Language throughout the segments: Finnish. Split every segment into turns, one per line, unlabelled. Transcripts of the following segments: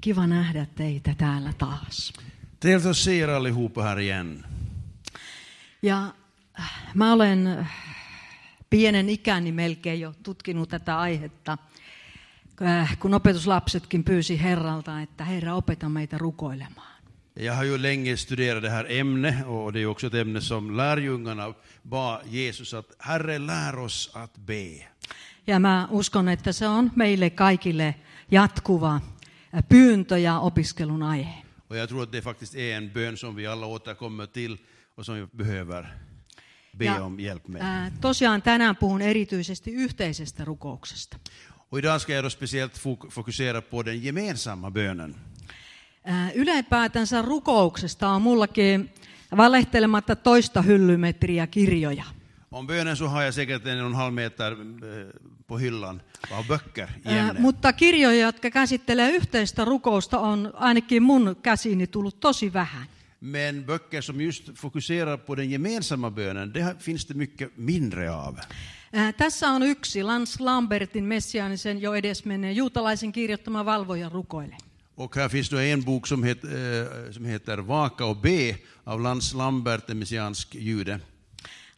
Kiva nähdä teitä täällä taas.
Trevligt att se er allihopa här igen.
Ja äh, mä olen äh, pienen ikäni melkein jo tutkinut tätä aihetta, äh, kun opetuslapsetkin pyysi Herralta, että Herra opeta meitä rukoilemaan.
Jag har ju länge studerat det här ämnet och det är också ett ämne som lärjungarna bad Jesus att Herre lär oss att be.
Ja mä uskon, että se on meille kaikille jatkuva äh, pyyntö ja opiskelun aihe.
Och jag tror att det faktiskt är en bön som vi alla återkommer till och som vi behöver be
Ja,
om hjälp med.
äh, tosiaan tänään puhun erityisesti yhteisestä rukouksesta.
Och idag ska jag då speciellt fok- fokusera på den gemensamma bönen.
Ää, Ylipäätänsä rukouksesta on mullakin valehtelematta toista hyllymetriä kirjoja.
Om bönen så har jag säkert en och en halv meter eh, på hyllan av böcker i
Ää,
ämnet.
mutta kirjoja, jotka käsittelee yhteistä rukousta, on ainakin mun käsiini tullut tosi vähän.
Men böcker som just fokuserar på den gemensamma bönen, det har- finns det mycket mindre av.
Ää, tässä on yksi Lance Lambertin messiaanisen jo edesmenneen juutalaisen kirjoittama valvoja rukoile.
Och här finns då en bok som, het, eh, som heter Vaka och be av Lance Lambert, en messiansk jude.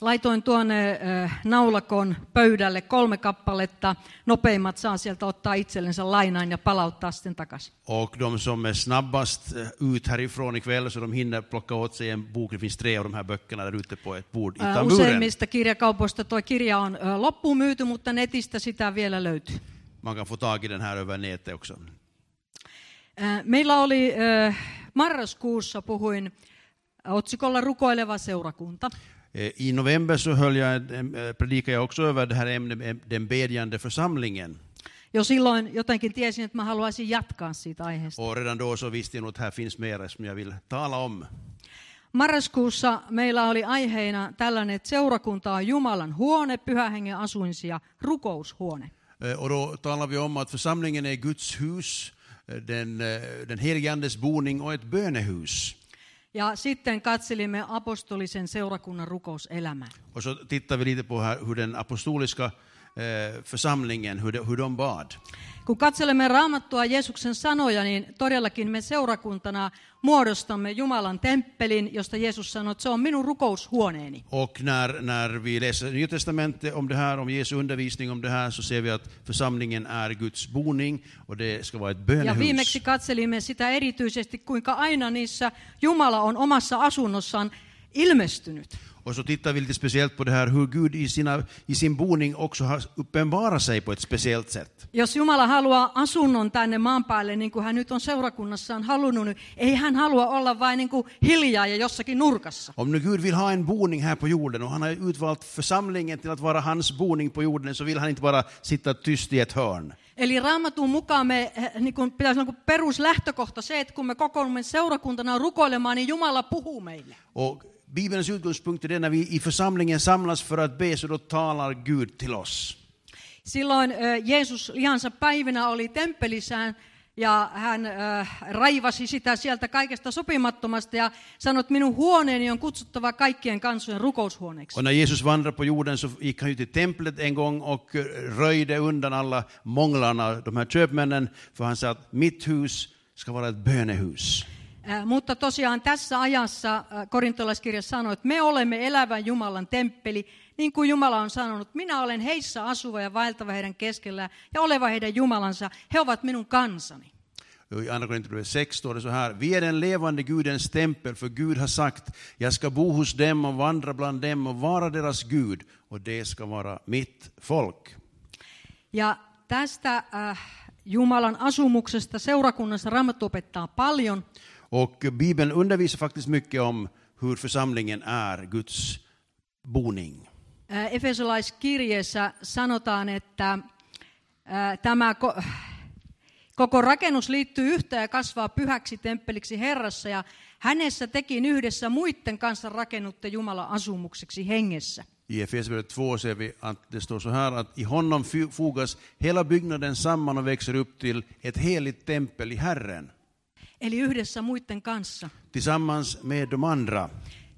Laitoin tuonne äh, naulakon pöydälle kolme kappaletta. Nopeimmat saa sieltä ottaa itsellensä lainaan ja palauttaa sitten takaisin.
Och de som är snabbast eh, ut härifrån ikväll så de hinner plocka åt sig en bok. Det finns tre av de här böckerna där ute på ett bord
Ää,
utan muren.
Äh, Useimmista kirjakaupoista tuo kirja on ö, loppuun myyty, mutta netistä sitä vielä löytyy.
Man kan få tag i den här över nätet också.
Ää, Äh, Meillä oli ö, marraskuussa puhuin äh, otsikolla Rukoileva seurakunta.
Eh, I november så höll jag, en- eh, predikade jag också över det här ämnet, eh, den bedjande församlingen.
Jo silloin jotenkin tiesin, että mä haluaisin jatkaa siitä aiheesta.
Och redan då så visste jag nog att här finns mer som jag vill tala om.
Marraskuussa meillä oli aiheena tällainen, että seurakunta on Jumalan huone, pyhähengen asuinsia, rukoushuone.
Eh, Och då talar vi om att församlingen är Guds hus, eh, den, eh, den helige Andes boning och ett bönehus.
Ja sitten katselimme apostolisen seurakunnan rukouselämää.
Och så tittar vi lite på här hur den apostoliska eh, församlingen, hur de, hur de bad.
Kun katselemme raamattua Jeesuksen sanoja, niin todellakin me seurakuntana muodostamme Jumalan temppelin, josta Jeesus sanoi, että se on minun rukoushuoneeni.
Och när, när vi läser Nya Testamentet om det här, om Jesu undervisning om det här, så ser vi att församlingen är Guds boning och det ska vara ett
Ja
bönehus.
viimeksi katselimme sitä erityisesti, kuinka aina niissä Jumala on omassa asunnossaan ilmestynyt.
Och så tittar vi lite speciellt på det här hur Gud i, sina, i sin boning också har uppenbarat sig på ett speciellt sätt.
Jos Jumala haluaa asunnon tänne maan päälle, niin kuin hän nyt on seurakunnassaan halunnut, niin ei hän halua olla vain niin kuin hiljaa ja jossakin nurkassa.
Om nu Gud vill ha en boning här på jorden och han har utvalt församlingen till att vara hans boning på jorden så vill han inte bara sitta tyst i ett hörn.
Eli raamatun mukaan me, eh, niin kun pitäisi olla niin kun peruslähtökohta se, että kun me kokoonnumme seurakuntana rukoilemaan, niin Jumala puhuu meille.
Och Bibelns utgångspunkt är det när vi i församlingen samlas för att be så då talar Gud till oss.
Silloin eh, Jeesus lihansa päivinä oli temppelissään ja hän äh, raivasi sitä sieltä kaikesta sopimattomasta ja sanoi, että minun huoneeni on kutsuttava kaikkien kansojen rukoushuoneeksi.
Och när Jesus vandrade på jorden så gick han ju till templet en gång och eh, röjde undan alla månglarna, de här köpmännen, för han sa att mitt hus ska vara ett bönehus.
Äh, mutta tosiaan tässä ajassa äh, korintolaiskirja sanoi, että me olemme elävän Jumalan temppeli, niin kuin Jumala on sanonut, minä olen heissä asuva ja vaeltava heidän keskellään ja oleva heidän Jumalansa, he ovat minun kansani.
Och I Andra Korinthierbrevet 6 står det så här, vi är den levande Gudens tempel, för Gud har sagt, jag ska bo hos dem och vandra bland dem och vara deras Gud, och det ska vara mitt folk.
Ja tästä äh, Jumalan asumuksesta seurakunnassa Raamattu opettaa paljon.
Och Bibeln undervisar faktiskt mycket om hur församlingen är Guds boning.
Äh, Efesolaiskirjeessä sanotaan, että äh, tämä ko- koko rakennus liittyy yhteen ja kasvaa pyhäksi temppeliksi Herrassa ja hänessä tekin yhdessä muiden kanssa rakennutte Jumalan asumukseksi hengessä.
I Efesierbrevet 2 ser vi att det står så här att i honom fo- fogas hela byggnaden samman och växer upp till ett heligt tempel i Herren
Eli yhdessä muiden kanssa.
tillsammans med de andra.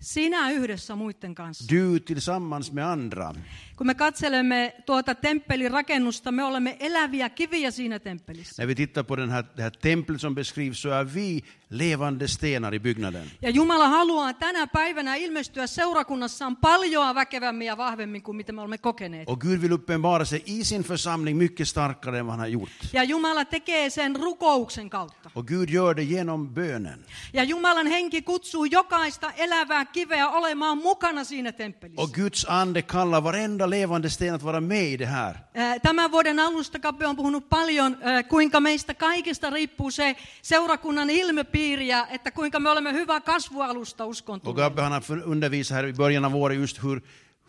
Sinä yhdessä muiden kanssa.
Du tillsammans med andra.
Kun me katselemme tuota temppelin rakennusta, me olemme eläviä kiviä siinä temppelissä.
När vi tittar på den här, det här templet som beskrivs så är vi levande stenar i byggnaden.
Ja Jumala haluaa tänä päivänä ilmestyä seurakunnassaan paljon väkevämmin ja vahvemmin kuin mitä me olemme kokeneet.
Och Gud vill uppenbara sig i sin församling mycket starkare än vad han har gjort.
Ja Jumala tekee sen rukouksen kautta.
Och Gud gör det genom bönen.
Ja Jumalan henki kutsuu jokaista elävää kiveä olemaan mukana siinä temppelissä.
Och Guds ande kallar varenda levande sten att vara med i det här.
Ää, Tämän vuoden alusta Kappe on puhunut paljon, ää, kuinka meistä kaikista riippuu se seurakunnan ilmepiiriä, että kuinka me olemme hyvä kasvualusta
Och
uskontoon.
Gabbe han har för- undervisat här i början av året just hur,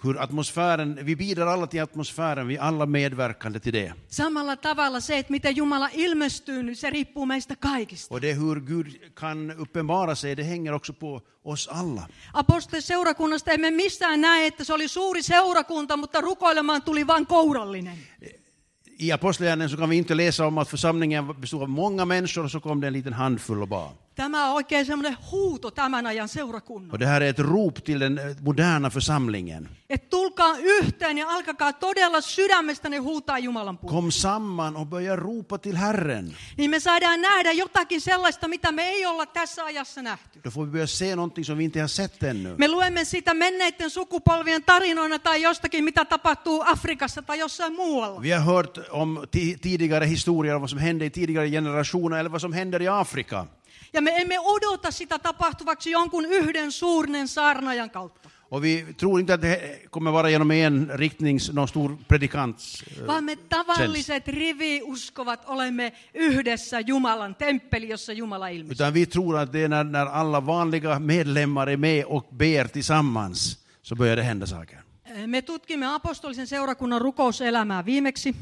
hur atmosfären, vi bidrar alla till atmosfären, vi är alla medverkande till det.
Samalla tavalla se, että miten Jumala ilmestyy, niin se riippuu meistä kaikista.
Och det hur Gud kan uppenbara sig, det hänger också på oss alla.
Apostolien seurakunnasta emme missään näe, että se oli suuri seurakunta, mutta rukoilemaan tuli vain kourallinen.
I Apostlagärningarna så kan vi inte läsa om att församlingen bestod av många människor och så kom det en liten handfull och bad.
Tämä on oikein semmoinen huuto tämän ajan seurakunnan.
Och det här är ett rop till den eh, moderna församlingen.
Että tulkaa yhteen ja alkakaa todella sydämestäni huutaa Jumalan puolesta.
Kom samman och börja ropa till Herren.
Niin me saadaan nähdä jotakin sellaista, mitä me ei olla tässä ajassa nähty.
Då får vi börja se någonting som vi inte har sett ännu.
Me luemme sitä menneiden sukupolvien tarinoina tai jostakin, mitä tapahtuu Afrikassa tai jossain muualla.
Vi har hört om ti- tidigare historier om vad som hände i tidigare generationer eller vad som händer i Afrika.
Ja me emme odota sitä tapahtuvaksi jonkun yhden suurnen saarnajan kautta,
Och vi tror inte att det kommer vara genom en riktnings, någon stor predikants. eh,
vaan me tavalliset riviuskovat olemme yhdessä Jumalan temppeli, jossa Jumala ilmestyy.
Utan vi tror att det är när, när alla vanliga medlemmar är med och ber tillsammans så börjar det hända saker.
Me tutkimme apostolisen seurakunnan rukouselämää viimeksi.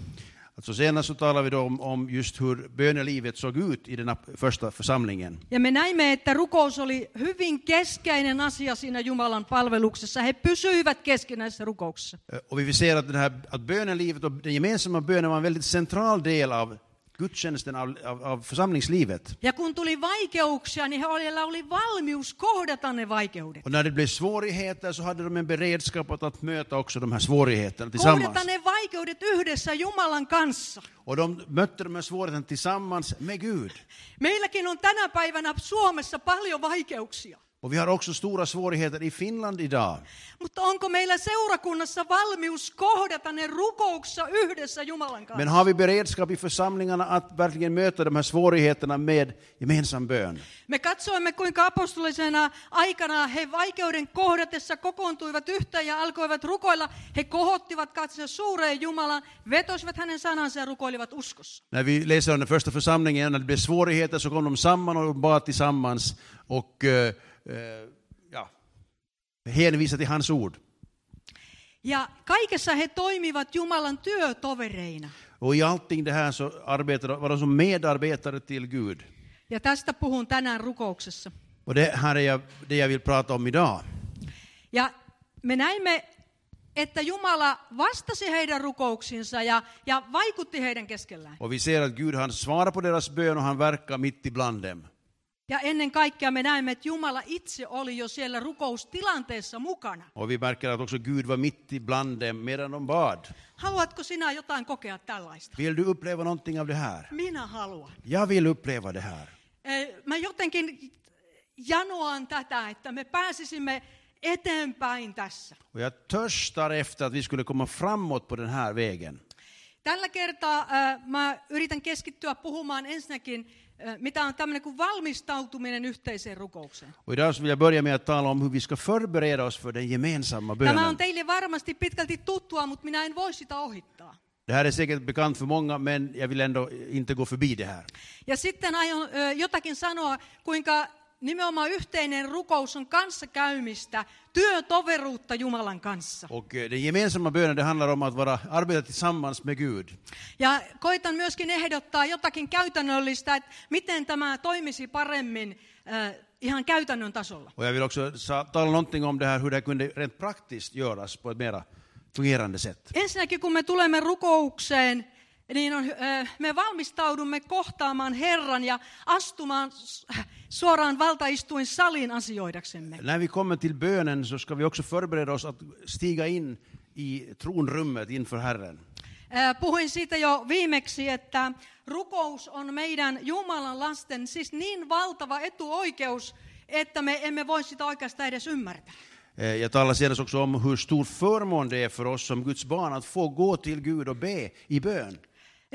Alltså senast så talade vi då om, om just hur bönelivet såg ut i den ap- första församlingen.
Ja me näimme, että rukous oli hyvin keskeinen asia siinä Jumalan palveluksessa. He pysyivät keskinäisessä rukouksessa.
Eh, Och vi ser att, den här, att bönelivet och den gemensamma bönen var en väldigt central del av gudstjänsten, av, av, av församlingslivet.
Ja kun tuli vaikeuksia, niin heillä oli valmius kohdata ne vaikeudet.
Och när det blev svårigheter så hade de en beredskap att, att möta också de här svårigheterna tillsammans.
Kohdata ne vaikeudet yhdessä Jumalan kanssa.
Och de mötte de här svårigheterna tillsammans med Gud.
Meilläkin on tänä päivänä Suomessa paljon vaikeuksia.
Och vi har också stora svårigheter i Finland idag.
Mutta onko meillä seurakunnassa valmius kohdata ne rukouksessa yhdessä Jumalan kanssa?
Men har vi beredskap i församlingarna att verkligen möta de här svårigheterna med gemensam bön?
Me katsoimme, kuinka apostolisena aikana he vaikeuden kohdatessa kokoontuivat yhteen ja alkoivat rukoilla. He kohottivat katsensa suureen Jumalaan, vetosivat hänen sanansa ja rukoilivat uskossa.
När vi läser om den första församlingen, när det blev svårigheter så kom de samman och bad tillsammans och eh, eh, ja, hänvisade till hans ord.
Ja kaikessa he toimivat Jumalan työtovereina.
Och i allting det här så arbetade, var de som medarbetare till Gud.
Ja tästä puhun tänään rukouksessa.
Och det här är jag, det jag vill prata om idag.
Ja me näimme, että Jumala vastasi heidän rukouksiinsa ja, ja vaikutti heidän keskellään.
Och vi ser att Gud han svarar på deras bön och han verkar mitt ibland dem.
Ja ennen kaikkea me näemme, että Jumala itse oli jo siellä rukoustilanteessa mukana.
Och vi märker att också Gud var mitt ibland dem medan de bad.
Haluatko sinä jotain kokea tällaista?
Vill du uppleva någonting av det här?
Minä haluan.
Jag vill uppleva det här.
Eh, Mä jotenkin janoan tätä, että me pääsisimme eteenpäin tässä.
Och jag törstar efter att vi skulle komma framåt på den här vägen.
Tällä kertaa äh, mä yritän keskittyä puhumaan ensinnäkin, äh, mitä on tämmöinen kuin valmistautuminen yhteiseen rukoukseen.
Och idag så vill jag börja med att tala om hur vi ska förbereda oss för den gemensamma
Tämä on
bönen.
teille varmasti pitkälti tuttua, mutta minä en voi sitä ohittaa.
Det här är säkert bekant för många, men jag vill ändå inte gå förbi det här.
Ja sitten aion ö, jotakin sanoa, kuinka nimenomaan yhteinen rukous on kanssakäymistä, työtoveruutta Jumalan kanssa.
Och eh, den gemensamma bönen, det handlar om att vara, arbeta tillsammans med Gud.
Ja koitan myöskin ehdottaa jotakin käytännöllistä, että miten tämä toimisi paremmin ö, ihan käytännön tasolla.
Och jag vill också sa, tala någonting om det här, hur det här kunde rent praktiskt göras på ett mera fungerande sätt.
Ensinnäkin kun me tulemme rukoukseen, niin on, ö, me valmistaudumme kohtaamaan Herran ja astumaan s- suoraan valtaistuin salin asioidaksemme.
När vi kommer till bönen så ska vi också förbereda oss att stiga in i tronrummet inför Herren.
Ö, Äh, Puhuin siitä jo viimeksi, että rukous on meidän Jumalan lasten siis niin valtava etuoikeus, että me emme voi sitä oikeastaan edes ymmärtää.
Eh, Jag talar senast också om hur stor förmån det är för oss som Guds barn att få gå till Gud och be i bön.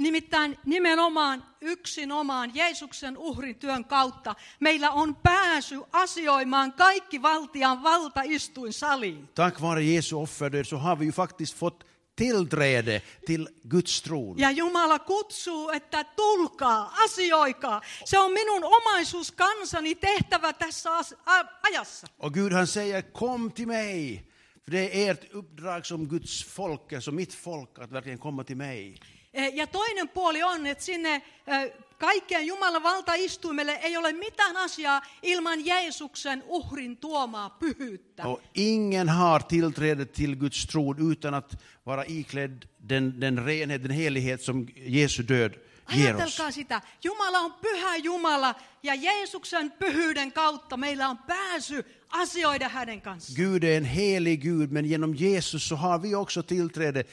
Nimittäin nimenomaan yksinomaan Jeesuksen uhrityön kautta meillä on pääsy asioimaan kaikki valtian valtaistuin saliin.
Tack vare Jesu offerdöd så har vi ju faktiskt fått tillträde till Guds tron.
Ja Jumala kutsuu, että tulkaa, asioikaa. Se on minun omaisuus kansani tehtävä tässä as- a- ajassa.
Och Gud han säger kom till mig. För det är ert uppdrag som Guds folk, alltså mitt folk, att verkligen komma till mig.
E, Ja toinen puoli on, että sinne ö, kaikkeen Jumalan valtaistuimelle ei ole mitään asiaa ilman Jeesuksen uhrin tuomaa pyhyyttä.
Och ingen har tillträde till Guds tron utan att vara iklädd den, den renhet, den helighet som Jesu död ger oss.
Ajatelkaa sitä. Jumala on pyhä Jumala ja Jeesuksen pyhyyden kautta meillä on pääsy asioida hänen kanssaan.
Gud är en helig Gud, men genom Jesus så har vi också tillträde,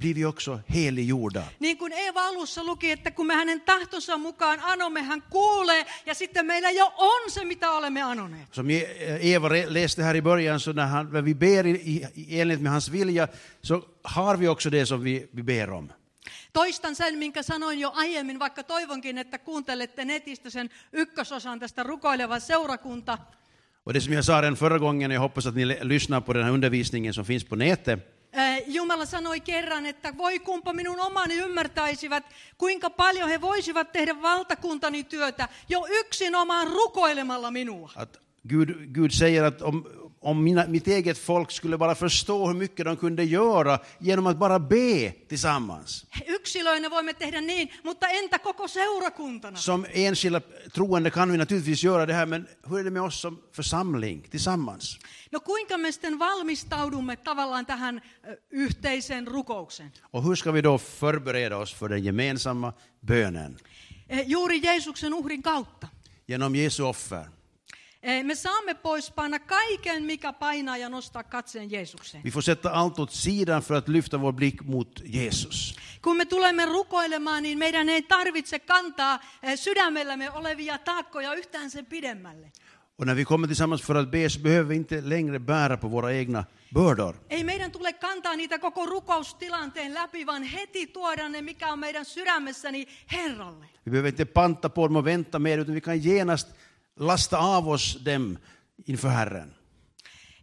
blir vi också heliggjorda.
Niin kuin Eeva alussa luki, että kun me hänen tahtonsa mukaan anomme, hän kuulee ja sitten meillä jo on se, mitä olemme anoneet.
Som eh, Eva re- läste här i början, så när, han, när vi ber i, i- i enlighet med hans vilja så har vi också det som vi, vi ber om.
Toistan sen, minkä sanoin jo aiemmin, vaikka toivonkin, että kuuntelette netistä sen ykkösosan tästä rukoileva seurakunta.
Och det som jag sa den förra gången, jag hoppas att ni le- lyssnar på den här undervisningen som finns på nätet.
Ää, Äh, Jumala sanoi kerran, että voi kumpa minun omani ymmärtäisivät, kuinka paljon he voisivat tehdä valtakuntani työtä jo yksin omaan rukoilemalla minua.
Att Gud, Gud säger att om, om mina, mitt eget folk skulle bara förstå hur mycket de kunde göra genom att bara be tillsammans.
Yksilöinä voimme tehdä niin, mutta entä koko seurakuntana?
Som enskilda troende kan vi naturligtvis göra det här, men hur är det med oss som församling tillsammans?
No kuinka me sitten valmistaudumme tavallaan tähän ö, yhteiseen rukoukseen?
Och hur ska vi då förbereda oss för den gemensamma bönen?
Eh, Juuri Jeesuksen uhrin kautta.
Genom Jesu offer.
Eh, Me saamme pois panna kaiken, mikä painaa ja nostaa katseen Jeesukseen.
Vi får sätta allt åt sidan för att lyfta vår blick mot Jesus.
Kun me tulemme rukoilemaan, niin meidän ei tarvitse kantaa eh, sydämellämme olevia taakkoja yhtään sen pidemmälle.
Och när vi kommer tillsammans för att be så behöver vi inte längre bära på våra egna bördor.
Ei meidän tule kantaa niitä koko rukoustilanteen läpi, vaan heti tuoda ne, mikä on meidän sydämessäni Herralle.
Vi behöver inte panta på dem och vänta mer, utan vi kan genast lasta av oss dem inför Herren.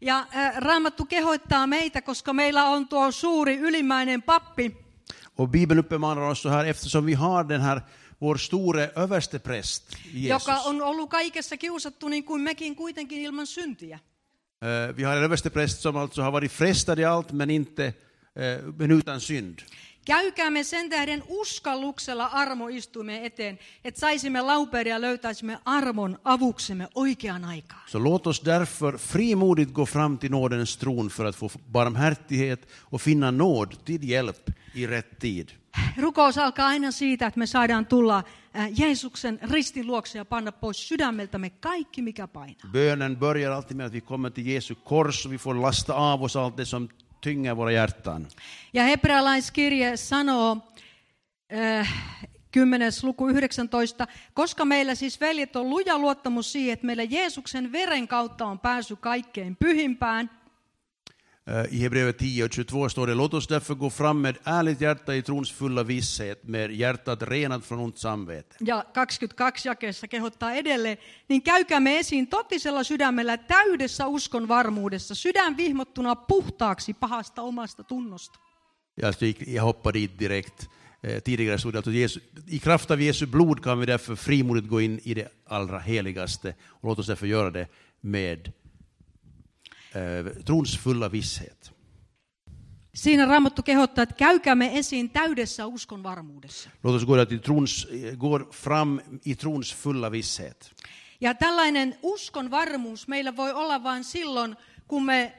Ja äh, Raamattu kehoittaa meitä, koska meillä on tuo suuri ylimmäinen pappi,
Och Bibeln uppmanar oss så här, eftersom vi har den här, vår store överstepräst, Jesus.
joka on ollut kaikessa kiusattu niin kuin mekin kuitenkin ilman syntiä.
Eh, Vi har en överstepräst som alltså har varit frestad i allt, men, inte, eh, men utan synd.
Käykäämme sen tähden uskalluksella armoistuimen eteen, että saisimme lauperia ja löytäisimme armon avuksemme oikeaan aikaan.
Så låt oss därför frimodigt gå fram till nådens tron för att få barmhärtighet och finna nåd till hjälp i rätt tid.
Rukous alkaa aina siitä, että me saadaan tulla äh, Jeesuksen ristin luokse ja panna pois sydämeltämme kaikki, mikä painaa.
Bönen börjar alltid med att vi kommer till Jesu kors och vi får lasta av oss allt det som tynger våra hjärtan.
Ja hebrealaiskirje sanoo, äh, 10. luku 19, koska meillä siis veljet on luja luottamus siihen, että meillä Jeesuksen veren kautta on pääsy kaikkein pyhimpään.
Eh, I Hebreerbrevet 10 och 22 står det, låt oss därför gå fram med ärligt hjärta i trons fulla visshet, med hjärtat renat från ont samvete.
Ja 22 jakeessa kehottaa edelleen, niin käykäämme esiin totisella sydämellä täydessä uskon varmuudessa, sydän vihmottuna puhtaaksi pahasta omasta tunnosta.
Jag, alltså gick- jag hoppade dit direkt. Eh, Tidigare stod det att Jesu, i kraft av Jesu blod kan vi därför frimodigt gå in i det allra heligaste. Och låt oss därför göra det med eh, trons fulla visshet.
Siinä Raamattu kehottaa, että käykäämme esiin täydessä uskon varmuudessa.
Låt oss gå, där till trons, eh, gå fram i trons fulla visshet.
Ja tällainen uskon varmuus meillä voi olla vain silloin, kun me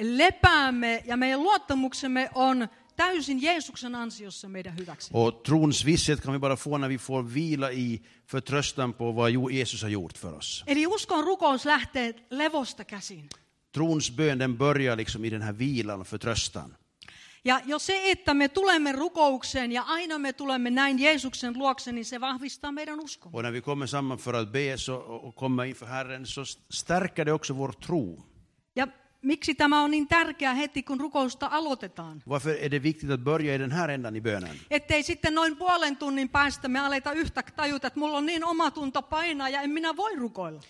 lepäämme ja meidän luottamuksemme on täysin Jeesuksen ansiossa meidän hyväksi.
Och trons visshet kan vi bara få när vi får vila i förtröstan på vad Jo- Jesus har gjort för oss.
Eli uskon rukous lähtee levosta käsin.
Trons bön den börjar liksom i den här vilan och förtröstan.
Ja jo se, että me tulemme rukoukseen ja aina me tulemme näin Jeesuksen luokse, niin se vahvistaa meidän uskon.
Och när vi kommer samman för att be så, och komma inför Herren så stärker det också vår tro.
Ja miksi tämä on niin tärkeää heti, kun rukousta aloitetaan?
Varför är det viktigt att börja i den här ändan i bönen?
Ettei sitten noin puolen tunnin päästä me aleta yhtä tajuta, että mulla on niin omatunto painaa ja en minä voi rukoilla.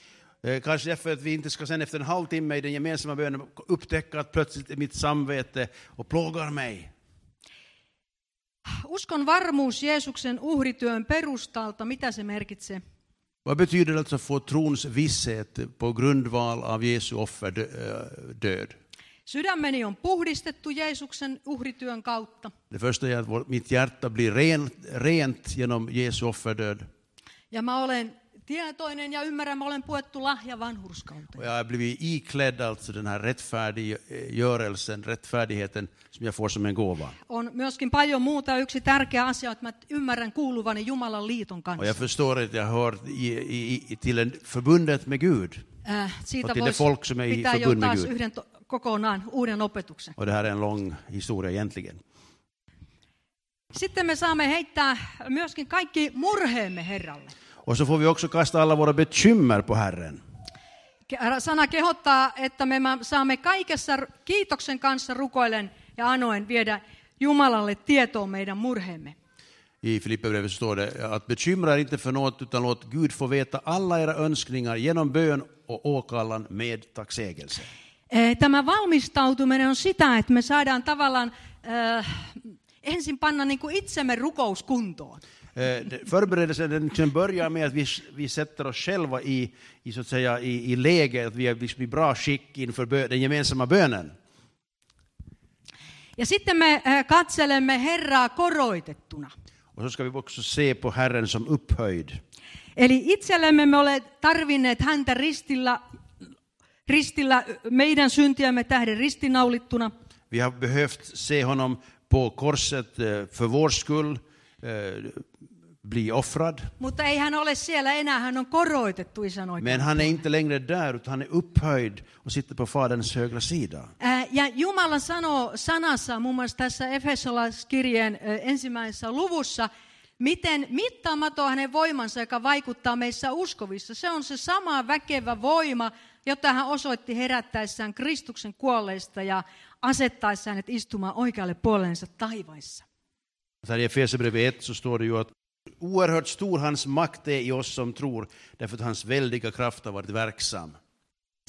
Eh, Kanske därför att vi inte ska sen efter en halvtimme i den gemensamma bönen upptäcka att plötsligt är mitt samvete och plågar mig.
Uskon varmuus Jeesuksen uhrityön perustalta, mitä se merkitsee?
Vad betyder det alltså att få trons visshet på grundval av Jesu offer dö- eh, död?
Sydämeni on puhdistettu Jeesuksen uhrityön kautta.
Det första är att vår- mitt hjärta blir rent, rent genom Jesu offerdöd.
Ja mä olen tietoinen ja ymmärrän, mä olen puettu lahja vanhurskauteen.
Och jag har blivit iklädd alltså den här rättfärdiggörelsen, rättfärdigheten som jag får som en gåva.
On myöskin paljon muuta. Yksi tärkeä asia, että mä ymmärrän kuuluvani Jumalan liiton
Och
kanssa.
jag förstår att jag hör i, i, i, till en förbundet med Gud.
Äh, siitä
Otitte
voisi
folk som ei
pitää jo
förbund med
taas
Gud.
yhden to- kokonaan uuden opetuksen.
Och det här är en lång historia egentligen.
Sitten me saamme heittää myöskin kaikki murheemme Herralle.
Och så får vi också kasta alla våra bekymmer på Herren.
Ke- äh, Sana kehottaa, että me ma- saamme kaikessa r- kiitoksen kanssa rukoilen ja anoen viedä Jumalalle tietoon meidän murheemme.
I Filipperbrevet står det att bekymra er inte för något utan låt Gud få veta alla era önskningar genom bön och åkallan med tacksägelse.
Eh, Tämä valmistautuminen on sitä, että me saadaan tavallaan äh, ensin panna niin kuin itsemme rukouskuntoon.
Eh, det- Förberedelsen den den börjar med att vi, vi sätter oss själva i, i, så att säga, i, i läge, att vi är liksom i bra skick inför bö, den gemensamma bönen.
Ja sitten me äh, katselemme Herraa koroitettuna.
Och så ska vi också se på Herren som upphöjd.
Eli itsellemme me ole tarvinneet häntä ristillä, ristillä meidän syntiämme tähden ristinaulittuna.
Vi har behövt se honom på korset eh, för vår skull, eh, bli offrad.
Mutta ei hän ole siellä enää, hän on koroitettu isän
Men
oikein.
han är inte längre där, utan han är upphöjd och sitter på Faderns högra sida.
Ja Jumala sanoo sanassa, muun muassa tässä Efesolaiskirjeen äh, ensimmäisessä luvussa, miten mittaamaton hänen voimansa, joka vaikuttaa meissä uskovissa. Se on se sama väkevä voima, jota hän osoitti herättäessään Kristuksen kuolleista ja asettaessaan hänet istumaan oikealle puolensa taivaissa.
Så här I Efesierbrevet 1 så står det ju att oerhört stor hans makt är i oss som tror, därför att hans väldiga kraft har varit verksam.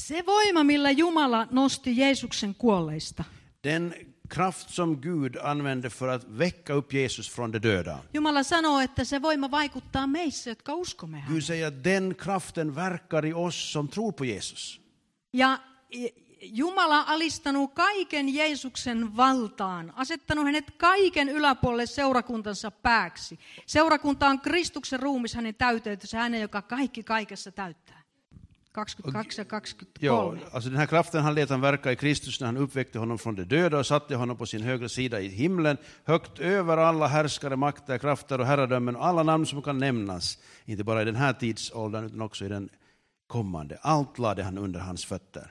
Se voima, millä Jumala nosti Jeesuksen kuolleista.
Den kraft som Gud använde för att väcka upp Jesus från de döda.
Jumala sanoo, että se voima vaikuttaa meissä, jotka uskomme häneen.
Gud säger att den kraften verkar i oss som tror på Jesus.
Ja Jumala alistanut kaiken Jeesuksen valtaan, asettanut hänet kaiken yläpuolelle seurakuntansa pääksi. Seurakunta on Kristuksen ruumis hänen täyteytensä, hänen, joka kaikki kaikessa täyttää. 22 ja 23.
Ja, alltså den här kraften han lät han verka i Kristus när han uppväckte honom från de döda och satte honom på sin högra sida i himlen, högt över alla härskare, makter, krafter och herradömen och alla namn som kan nämnas, inte bara i den här tidsåldern utan också i den kommande. Allt lade han under hans fötter.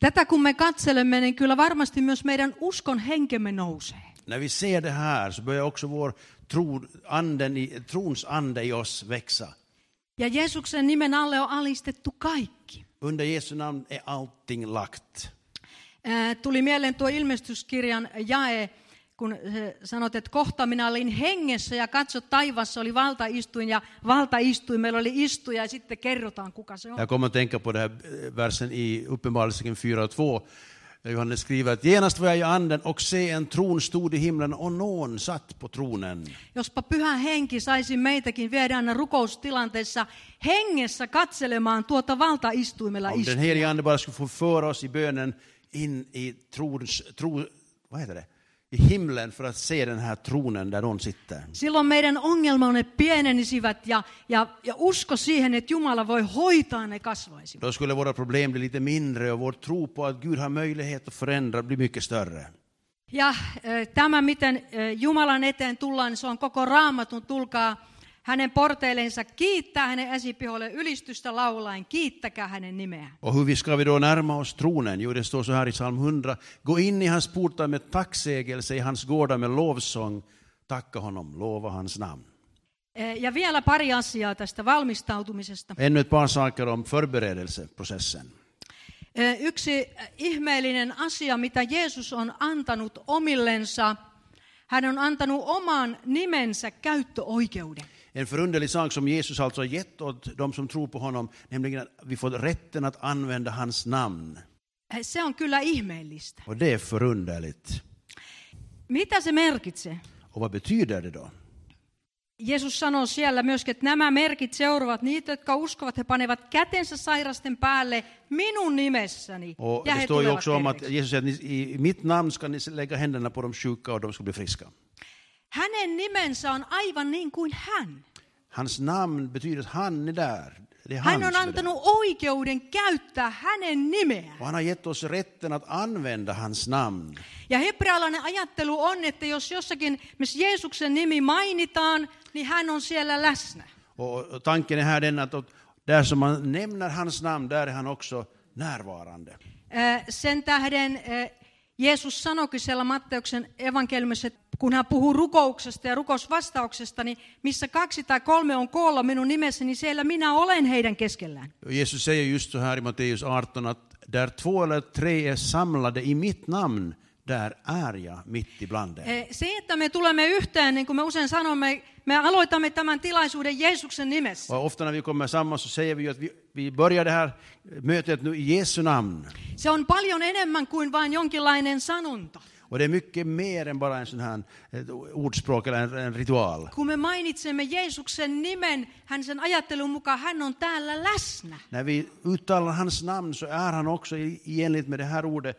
Tätä kun me katselemme, niin kyllä varmasti myös meidän uskon henkemme nousee.
När vi ser det här så börjar också vår tro, anden i, trons ande i oss växa.
Ja Jeesuksen nimen alle on alistettu kaikki.
Under Jesu namn är allting lagt.
Ää, Äh, Tuli mieleen tuo ilmestyskirjan jae, kun äh, sanot, että kohta minä olin hengessä ja katso taivassa oli valtaistuin ja valtaistuin, meillä oli istuja ja sitten kerrotaan kuka se on.
Jag kommer att tänka på den här eh, versen i Uppenbarelsen 4 och 2. Där Johannes skriver att genast var jag i anden och se en tron stod i himlen och någon satt på tronen.
Jospa pyhä henki saisi meitäkin viedä aina rukoustilanteessa hengessä katselemaan tuota valtaistuimella
Om den
istuja.
helige ande bara skulle få föra oss i bönen in i trons, tro, vad heter det? I himlen för att se den här tronen där någon sitter.
Silloin meidän ongelmamme pienenisivät ja, ja, ja usko siihen, että Jumala voi hoitaa ne kasvaisivat.
Då skulle våra problem bli lite mindre och vår tro på att Gud har möjlighet att förändra bli mycket större.
Ja eh, tämä, miten eh, Jumalan eteen tullaan, niin se on koko raamatun tulkaa hänen porteilleensa kiittää hänen esipiholle ylistystä laulaen, kiittäkää hänen nimeään.
Och hur vi ska vi då närma oss tronen? Jo, det står så här i psalm 100. Gå in i hans portar med tacksägelse, i hans gårdar med lovsång. Tacka honom, lova hans namn.
Eh, Ja vielä pari asiaa tästä valmistautumisesta.
Ännu ett par saker om förberedelseprocessen.
Eh, Yksi eh, ihmeellinen asia, mitä Jeesus on antanut omillensa, hän on antanut oman nimensä käyttöoikeuden.
En förunderlig sak som Jesus alltså har gett åt de som tror på honom, nämligen att vi får rätten att använda hans namn.
Eh, Se on kyllä ihmeellistä.
Och det är förunderligt.
Mitä se merkitsee?
Och vad betyder det då?
Jeesus sanoo siellä myöskin, että nämä merkit seuraavat niitä, jotka uskovat, he panevat kätensä sairasten päälle minun nimessäni.
Och
ja
det
he
står ju
tulevat
också om att
terveiksi.
Jesus säger att ni, i mitt namn ska ni lägga händerna på de sjuka och de ska bli friska.
Hänen nimensä on aivan niin kuin hän.
Hans namn betyder att han är där. Det är
Hän on
hans med det.
antanut oikeuden käyttää hänen nimeään.
Och han har gett oss rätten att använda hans namn.
Ja hebrealainen ajattelu on, että jos jossakin, missä Jeesuksen nimi mainitaan, niin hän on siellä läsnä.
Och, och tanken är här den att att där som man nämner hans namn, där är han också närvarande.
Äh, Sen tähden äh, Jeesus sanoikin siellä Matteuksen evankeliumissa, että kun hän puhuu rukouksesta ja rukousvastauksesta, niin missä kaksi tai kolme on koolla minun nimessäni, niin siellä minä olen heidän keskellään.
Och Jesus säger just så här i Matteus 18 att där två eller tre är samlade i mitt namn, där är jag mitt ibland er.
Äh, Se, että me tulemme yhteen, niin kuin me usein sanomme, me aloitamme tämän tilaisuuden Jeesuksen nimessä.
Och ofta när vi kommer samman så säger vi ju att vi, vi börjar det här mötet nu i Jesu namn.
Se on paljon enemmän kuin vain jonkinlainen sanonta.
Och det är mycket mer än bara en sån här ett ordspråk eller en, en ritual.
Kun me mainitsemme Jeesuksen nimen, hän sen ajattelun mukaan hän on täällä läsnä.
När vi uttalar hans namn så är han också i, i enlighet med det här ordet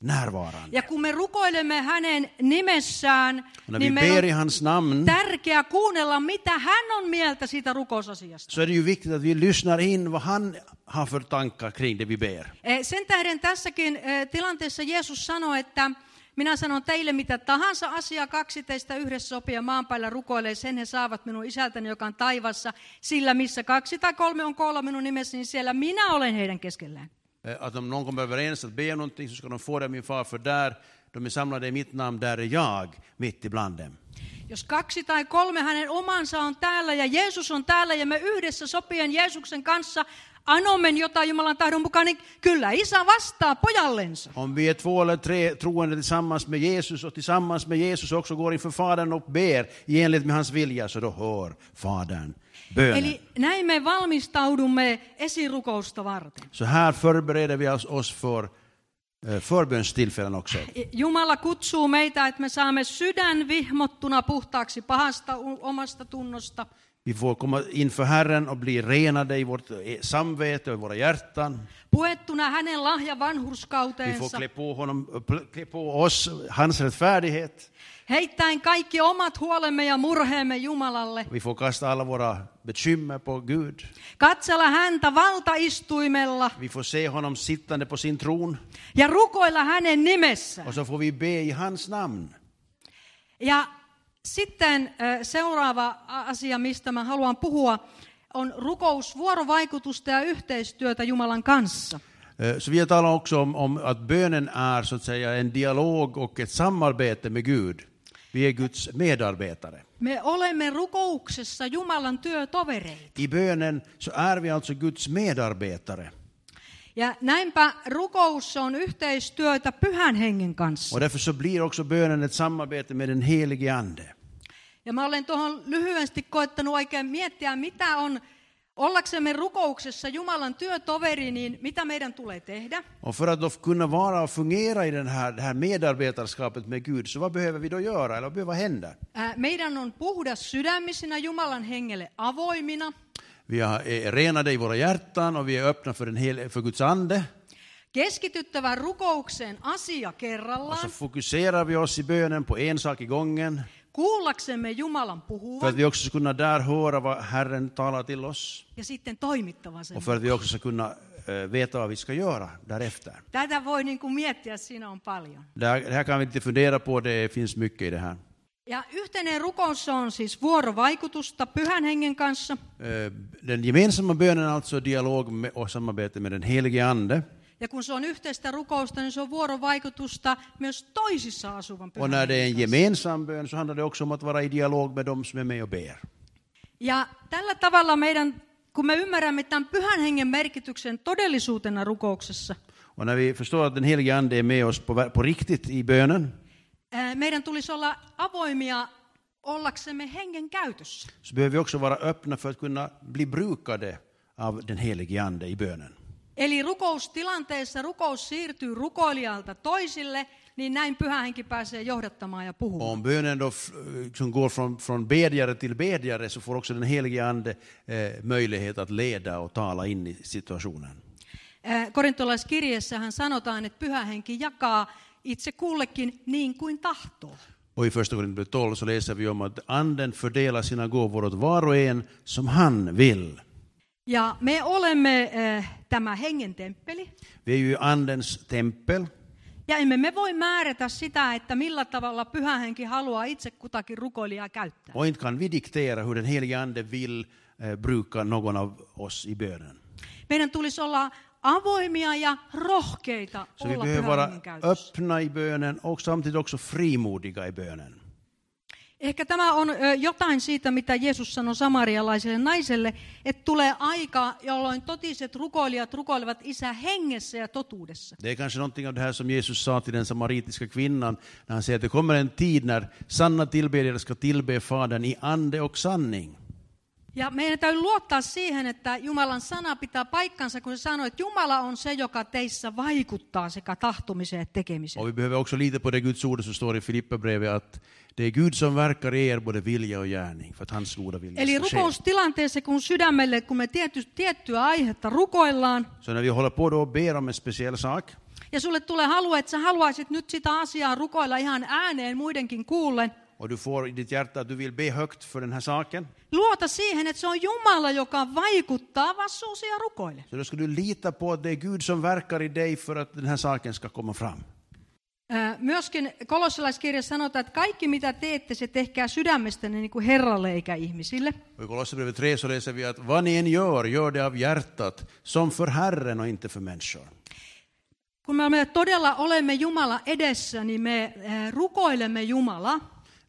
närvarande.
Ja kun me rukoilemme hänen nimessään,
Och när vi
niin meillä
ber i
on
hans namn
tärkeää kuunnella, mitä hän on mieltä siitä rukousasiasta.
så är det ju viktigt att vi lyssnar in vad han har för tankar kring det vi ber.
Eh, Sen tähden tässäkin eh, tilanteessa Jeesus sanoi, että minä sanon teille mitä tahansa asiaa kaksi teistä yhdessä sopii ja maan päällä rukoilee, sen he saavat minun isältäni, joka on taivassa. Sillä missä kaksi tai kolme on koolla minun nimessäni, niin siellä minä olen heidän keskellään.
Eh, Att om någon kommer överens att be om någonting så ska de få det av min far, för där de är samlade i mitt namn, där är jag mitt ibland dem.
Jos kaksi tai kolme hänen omansa on täällä ja Jeesus on täällä ja me yhdessä sopien Jeesuksen kanssa anomme jotain Jumalan tahdon mukaan, niin kyllä isä vastaa pojallensa.
Om vi är två eller tre troende tillsammans med Jesus och tillsammans med Jesus också går inför Fadern och ber i enlighet med hans vilja, så då hör Fadern bönen.
Eli näin me valmistaudumme esirukousta varten.
Så här förbereder vi oss- oss för eh, förbönstillfällen också.
Jumala kutsuu meitä, että me saamme sydän vihmottuna puhtaaksi pahasta u- omasta tunnosta.
Vi får komma inför Herren och bli renade i vårt eh, samvete och i våra hjärtan.
Puettuna hänen lahja
Vi får
vanhurskauteensa,
klä på, honom, eh, klä på oss hans rättfärdighet.
heittäen kaikki omat huolemme ja murheemme Jumalalle.
Vi får kasta alla våra bekymmer på Gud.
Katsella häntä valtaistuimella
Vi får se honom sittande på sin tron
ja rukoilla hänen nimessä.
och så får vi be i hans namn.
Ja sitten ö, seuraava a- asia, mistä mä haluan puhua, on rukous, vuorovaikutusta ja yhteistyötä Jumalan kanssa.
Eh, Så vi har talat också om, om att bönen är så att säga en dialog och ett samarbete med Gud. Vi är Guds medarbetare.
Me olemme rukouksessa Jumalan työtovereita.
I bönen så är vi alltså Guds medarbetare.
Ja näinpä rukous on yhteistyötä pyhän hengen kanssa.
Och därför så blir också bönen ett samarbete med den helige Ande.
Ja mä olen tuohon lyhyesti koettanut oikein miettiä, mitä on ollaksemme rukouksessa Jumalan työtoveri, niin mitä meidän tulee tehdä.
Och för att då kunna vara och fungera i den här, det här medarbetarskapet med Gud, så vad behöver vi då göra? Eller vad behöver hända?
Ää, Meidän on puhdas sydämisinä Jumalan hengelle avoimina,
Vi har- är renade i våra hjärtan och vi är öppna för, den hel, för Guds Ande.
keskityttävä rukoukseen asia
Och så
kerrallaan,
fokuserar vi oss i bönen på en sak i gången.
kuullaksemme Jumalan
För att
puhuvan
vi också ska kunna där höra vad Herren talar till oss.
ja sitten toimittavan sen.
Och för att vi också ska kunna eh, veta vad vi ska göra därefter.
Tätä voi niin kuin miettiä, siinä on paljon.
Det här, det här kan vi inte fundera på, det finns mycket i det här.
Ja yhteinen rukous on siis vuorovaikutusta pyhän hengen kanssa.
Eh, Den gemensamma bönen är alltså dialog med och samarbete med den helige Ande.
Ja kun se on yhteistä rukousta, niin se on vuorovaikutusta myös toisissa asuvan
Och
pyhän
när det är en
hengen kanssa.
gemensam bön så handlar det också om att vara i dialog med dem som är med och ber.
Ja tällä tavalla meidän, kun me ymmärrämme tämän pyhän hengen merkityksen todellisuutena rukouksessa,
Och när vi förstår att den helige Ande är med oss på, på riktigt i bönen
ää, meidän tulisi olla avoimia ollaksemme hengen käytössä.
så behöver vi också vara öppna för att kunna bli brukade av den helige Ande i bönen.
Eli rukoustilanteessa rukous siirtyy rukoilijalta toisille, niin näin pyhä henki pääsee johdattamaan ja
Och
puhumaan.
om bönen då f- liksom går från, från bedjare till bedjare så får också den helige Ande eh, möjlighet att leda och tala in i situationen.
Ää, Korintolaiskirjeessähän sanotaan, että pyhä henki jakaa itse kullekin niin kuin tahtoo.
Och i första Korinthierbrevet 12 så läser vi om att anden fördelar sina gåvor åt var och en som han vill.
Ja me olemme äh, tämä hengen temppeli.
Vi är ju andens tempel
Ja emme me voi määrätä sitä, että millä tavalla pyhä henki haluaa itse kutakin rukoilijaa käyttää.
och inte kan vi diktera hur den helige ande vill eh, bruka någon av oss i bönen.
Meidän tulisi olla avoimia ja rohkeita
Så vi
olla
behöver
pyhän
vara
hengen käytössä.
öppna i bönen och samtidigt också frimodiga i bönen.
Ehkä tämä on ö, jotain siitä, mitä Jeesus sanoi samarialaiselle naiselle, että tulee aika, jolloin totiset rukoilijat rukoilevat isä hengessä ja totuudessa.
Det är kanske någonting av det här som Jesus sa till den samaritiska kvinnan när han säger att det kommer en tid när sanna tillbedjare ska tillbe Fadern i ande och sanning.
Ja meidän täytyy luottaa siihen, että Jumalan sana pitää paikkansa, kun se sanoo, että Jumala on se, joka teissä vaikuttaa sekä tahtomiseen että tekemiseen.
Och vi behöver också lita på det Guds ord som står i Filipperbrevet att det är Gud som verkar i er både vilja och gärning för att hans goda vilja
Eli
ska ske.
rukoustilanteessa, kun sydämelle, kun me tiety, tiettyä aihetta rukoillaan,
Så när vi håller på då och ber om en speciell sak
ja sulle tulee halu, että sä haluaisit nyt sitä asiaa rukoilla ihan ääneen muidenkin kuullen,
och du får i ditt hjärta att du vill be högt för den här saken,
luota siihen, että se on Jumala, joka vaikuttaa vastuusi ja rukoile.
så då ska du lita på att det är Gud som verkar i dig för att den här saken ska komma fram.
Ää, Myöskin kolossalaiskirjassa sanotaan, että kaikki mitä teette, se tehkää sydämestänne niin kuin Herralle eikä ihmisille.
Och I Kolosserbrevet 3 så läser vi att vad ni än gör, gör det av hjärtat, som för Herren och inte för människor.
Kun me todella olemme Jumala edessä, niin me ää, rukoilemme Jumalaa.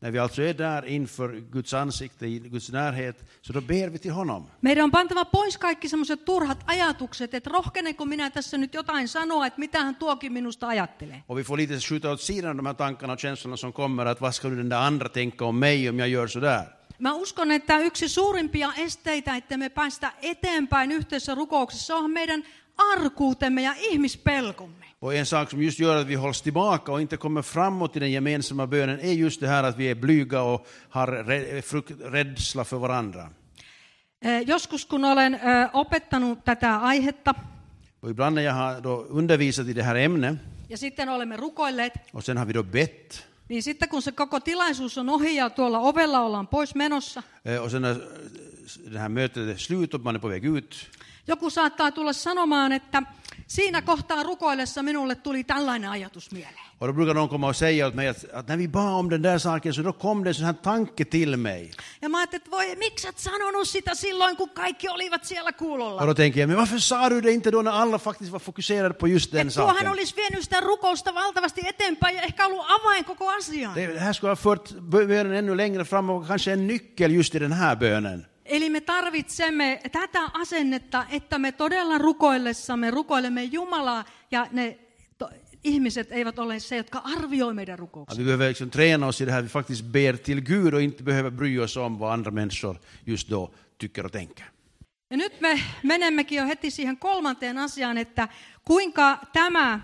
När vi alltså är där inför Guds ansikte, i Guds närhet, så då ber vi till honom.
Meidän on pantava pois kaikki semmoiset turhat ajatukset, että rohkenenko minä tässä nyt jotain sanoa, että mitähän tuokin minusta ajattelee.
Och vi får lite skjuta åt sidan de här tankarna och känslorna som kommer, att vad ska nu den där andra tänka om mig om jag gör sådär?
Mä uskon, että yksi suurimpia esteitä, että me päästä eteenpäin yhteisessä rukouksessa, on meidän arkuutemme ja ihmispelkomme.
Och en sak som just gör att vi hålls tillbaka och inte kommer framåt i den gemensamma bönen är just det här att vi är blyga och har rä- frukt- rädsla för varandra.
Eh, Joskus kun olen eh, opettanut tätä aihetta
Och ibland när jag har då undervisat i det här ämnet,
ja sitten olemme rukoilleet,
och sen har vi då bett,
niin sitten kun se koko tilaisuus on ohi ja tuolla ovella ollaan pois menossa,
Eh, Och sen när eh, det här mötet är slut och man är på väg ut
Joku saattaa tulla sanomaan, että siinä kohtaa rukoillessa minulle tuli tällainen ajatus mieleen.
och då brukar någon komma och säga åt mig att, att när vi bad om den där saken så då kom det en sån här tanke till mig.
Ja mä ajattelin, että voi, miksi et sanonut sitä silloin, kun kaikki olivat siellä kuulolla?
Och då tänker jag, men varför sa du det inte då när alla faktiskt var fokuserade på just den
Että tuohan
saken?
olisi vienyt sitä rukousta valtavasti eteenpäin ja ehkä ollut avain koko asiaan.
Det det här skulle ha fört bönen ännu längre fram och kanske en nyckel just i den här bönen.
Eli me tarvitsemme tätä asennetta, että me todella rukoillessamme rukoilemme Jumalaa ja ne to- ihmiset eivät ole se, jotka arvioi meidän rukouksia.
Att vi behöver liksom träna oss i det här, vi faktiskt ber till Gud och inte behöver bry oss om vad andra människor just då tycker och tänker.
Ja nyt me menemmekin jo heti siihen kolmanteen asiaan, että kuinka tämä,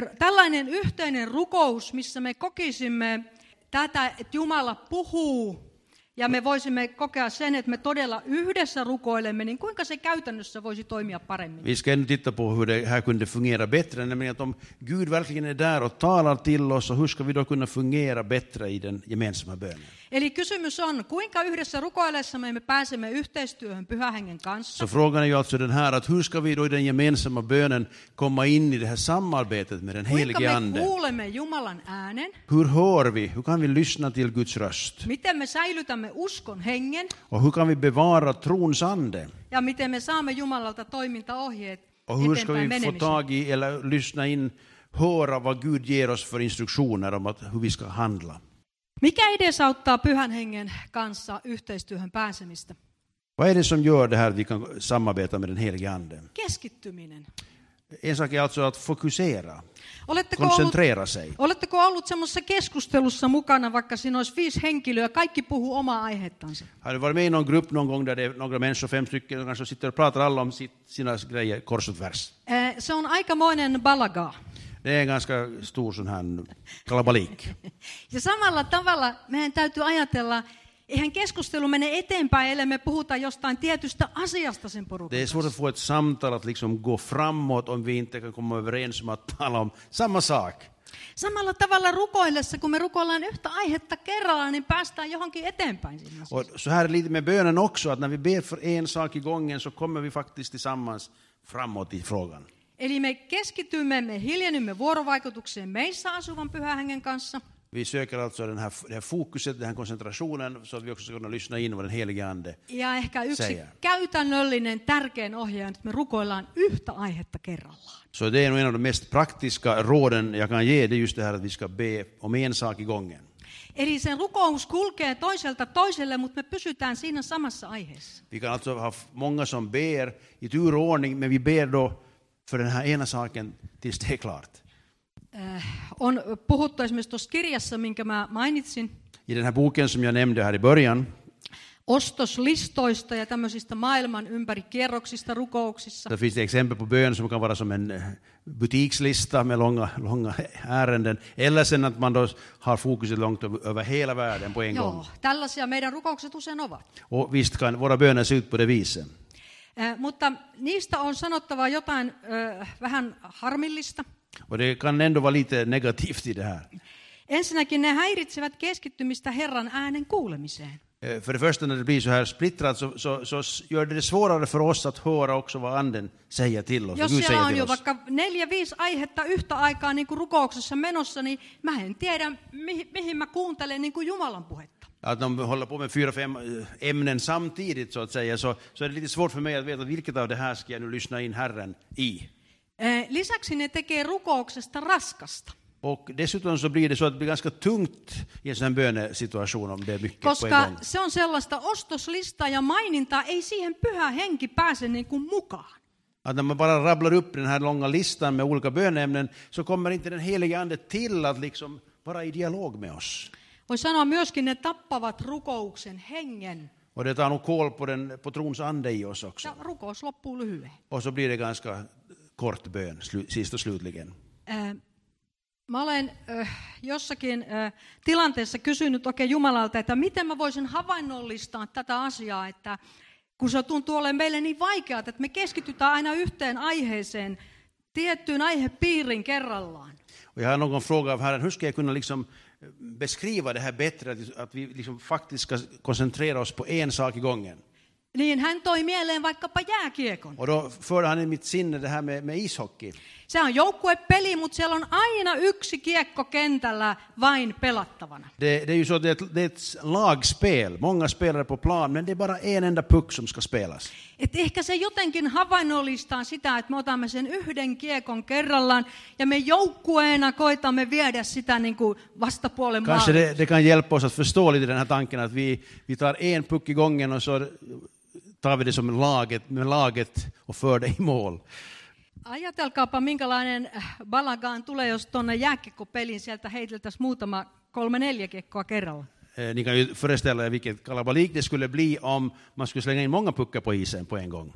r- tällainen yhteinen rukous, missä me kokisimme tätä, että Jumala puhuu Ja me voisimme kokea sen, että me todella yhdessä rukoilemme, niin kuinka se käytännössä voisi toimia paremmin.
Vi ska ändå titta på hur det här kunde fungera bättre, nämligen att om Gud verkligen är där och talar till oss, och hur ska vi då kunna fungera bättre i den gemensamma bönen?
Eli kysymys on, kuinka yhdessä rukoillessamme me pääsemme yhteistyöhön pyhähengen kanssa.
Så frågan är ju alltså den här, att hur ska vi då i den gemensamma bönen komma in i det här samarbetet med den
Kuinka
helige
me
Ande?
kuulemme Jumalan äänen,
Hur hör vi? Hur kan vi lyssna till Guds röst?
miten me säilytämme uskon hengen
Och hur kan vi bevara trons ande?
ja miten me saamme Jumalalta toimintaohjeet
Och hur ska
eteenpäin
vi få
menemiseen.
tag i, eller lyssna in, höra vad Gud ger oss för instruktioner om att, hur vi ska handla?
Mikä edesauttaa pyhän hengen kanssa yhteistyöhön pääsemistä?
Vad är det som gör det här att vi kan samarbeta med den helige Ande?
Keskittyminen.
En sak är alltså att fokusera,
Oletteko ollut,
koncentrera sig.
oletteko ollut semmoisessa keskustelussa mukana, vaikka siinä olisi viisi henkilöä, kaikki puhuu omaa aihettansa.
Har du varit med i någon grupp någon gång där det är några människor, fem stycken, och kanske sitter och pratar alla om sitt, sina grejer kors och tvärs?
Eh, Se on aikamoinen balagaa.
Det är en ganska stor sån här kalabalik.
Ja samalla tavalla meidän täytyy ajatella, eihän keskustelu mene eteenpäin, ellei me puhuta jostain tietystä asiasta sen porukan.
Det är svårt att få ett samtal att liksom gå framåt om vi inte kan komma överens om att tala om samma sak.
Samalla tavalla rukoillessa, kun me rukoillaan yhtä aihetta kerrallaan, niin päästään johonkin eteenpäin siinä asiassa.
Och så här är det lite med bönen också, att när vi ber för en sak i gången så kommer vi faktiskt tillsammans framåt i frågan.
Eli me keskitymme, me hiljennymme vuorovaikutukseen meissä asuvan pyhän hengen kanssa.
Vi söker alltså den här, det här fokuset, den här koncentrationen, så att vi också ska kunna lyssna in vad den helige Ande
Ja ehkä yksi
Seijää.
käytännöllinen tärkein ohje on, että me rukoillaan yhtä aihetta kerrallaan.
Så det är nog en av de mest praktiska råden jag kan ge, det är just det här att vi ska be om en sak i gången.
Eli sen rukous kulkee toiselta toiselle, mutta me pysytään siinä samassa aiheessa.
Vi kan alltså ha f- många som ber i tur och ordning, men vi ber då för den här ena saken tills det är klart.
On puhuttu esimerkiksi tuossa kirjassa, minkä mä mainitsin,
I den här boken som jag nämnde här i början,
ostoslistoista ja tämmöisistä maailman ympäri kierroksista rukouksissa.
där finns det exempel på bön som kan vara som en eh, butikslista med långa, långa ärenden, eller sen att man då har fokuset långt över över hela världen på en gång.
Joo, tällaisia meidän rukoukset usein ovat.
Och visst kan våra böner se ut på det viset.
Eh, Mutta niistä on sanottava jotain ö, vähän harmillista.
Och det kan ändå vara lite negativt i det här.
Ensinnäkin ne häiritsevät keskittymistä Herran äänen kuulemiseen.
Eh, För det första när det blir så här splittrat så, så, så s- gör det det svårare för oss att höra också vad anden säger till oss. vad
Jos
Gud
siellä
säger
on
till
jo
oss.
vaikka neljä, viisi aihetta yhtä aikaa niin kuin rukouksessa menossa, niin mä en tiedä, mihin, mihin mä kuuntelen niin kuin Jumalan puhetta.
Att de håller på med fyra, fem eh, ämnen samtidigt så att säga, så, så är det lite svårt för mig att veta vilket av det här ska jag nu lyssna in Herren i.
Eh, Lisäksi ne tekee rukouksesta raskasta,
Och dessutom så blir det så att det blir ganska tungt i en sån här bönesituation om det är mycket på en
koska
gång.
se on sellaista ostoslistaa ja mainintaa, ei siihen pyhä henki pääse niin kuin mukaan.
Att när man bara rabblar upp den här långa listan med olika bönämnen så kommer inte den heliga ande till att liksom vara i dialog med oss.
Voi sanoa myöskin, ne tappavat rukouksen hengen
Och det tar nog koll på, den, på trons ande i oss också.
ja rukous loppuu lyhyen.
Och så blir det ganska kort bön slu, sist och slutligen.
Äh, Mä olen äh, jossakin äh, tilanteessa kysynyt oikein Jumalalta, että miten mä voisin havainnollistaa tätä asiaa, että kun se tuntuu olevan meille niin vaikeaa, että me keskitytään aina yhteen aiheeseen, tiettyyn aihepiirin kerrallaan.
Och jag har någon fråga av Herren, hur ska jag kunna liksom beskriva det här bättre, att, att vi liksom faktiskt ska koncentrera oss på en sak i gången?
Niin hän toi mieleen vaikkapa jääkiekon.
Och då förde han i mitt sinne det här med, med ishockey.
Se on joukkuepeli, mutta siellä on aina yksi kiekko kentällä vain pelattavana.
Det, det är ju så att det är, ett, det är ett lagspel, många spelare på plan, men det är bara en enda puck som ska spelas.
Et ehkä se jotenkin havainnollistaa sitä, että me otamme sen yhden kiekon kerrallaan ja me joukkueena koitamme viedä sitä niin kuin vastapuolen
Kanske
maalle.
det, det kan hjälpa oss att förstå lite den här tanken att vi, vi tar en puck i gången och så tar vi det som laget, med laget och för det i mål.
Ajatelkaapa, minkälainen äh, balagaan tulee, jos tuonne jääkiekkopeliin sieltä heiteltäisiin muutama kolme neljä kiekkoa kerralla.
Eh, Ni kan ju föreställa er vilket kalabalik det skulle bli om man skulle slänga in många puckar på isen på en gång.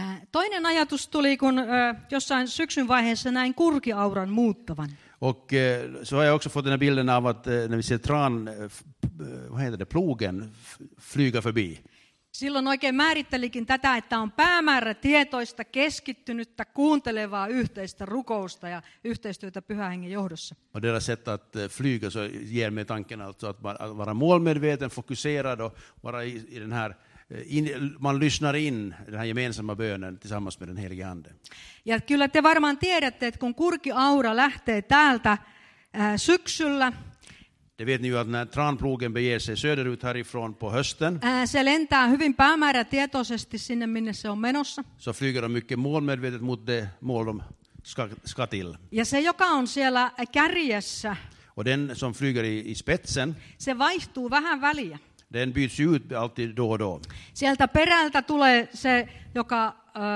Äh, Toinen ajatus tuli, kun äh, jossain syksyn vaiheessa näin kurkiauran muuttavan.
Och Och eh, så har jag också fått den här bilden av att eh, när vi ser tran, eh, f- eh, vad heter det, plogen f- flyga förbi.
Silloin oikein määrittelikin tätä, että on päämäärä tietoista, keskittynyttä, kuuntelevaa yhteistä rukousta ja yhteistyötä pyhän hengen johdossa.
Och deras sätt att eh, flyga så ger mig tanken alltså att, man, att vara målmedveten, fokuserad och vara i, i den här, eh, in, man lyssnar in den här gemensamma bönen tillsammans med den helige Ande.
Ja kyllä te varmaan tiedätte, että kun kurki aura lähtee täältä ää, syksyllä,
Det vet ni ju att när tranplogen beger sig söderut härifrån på hösten
ää, se lentää hyvin päämäärätietoisesti sinne, minne se on menossa.
så flyger de mycket målmedvetet mot det mål de ska, ska till.
Ja se, joka on siellä kärjessä,
Och den som flyger i, i spetsen,
se vaihtuu vähän väliä.
den byts ju ut alltid då och då.
Sieltä perältä tulee se, joka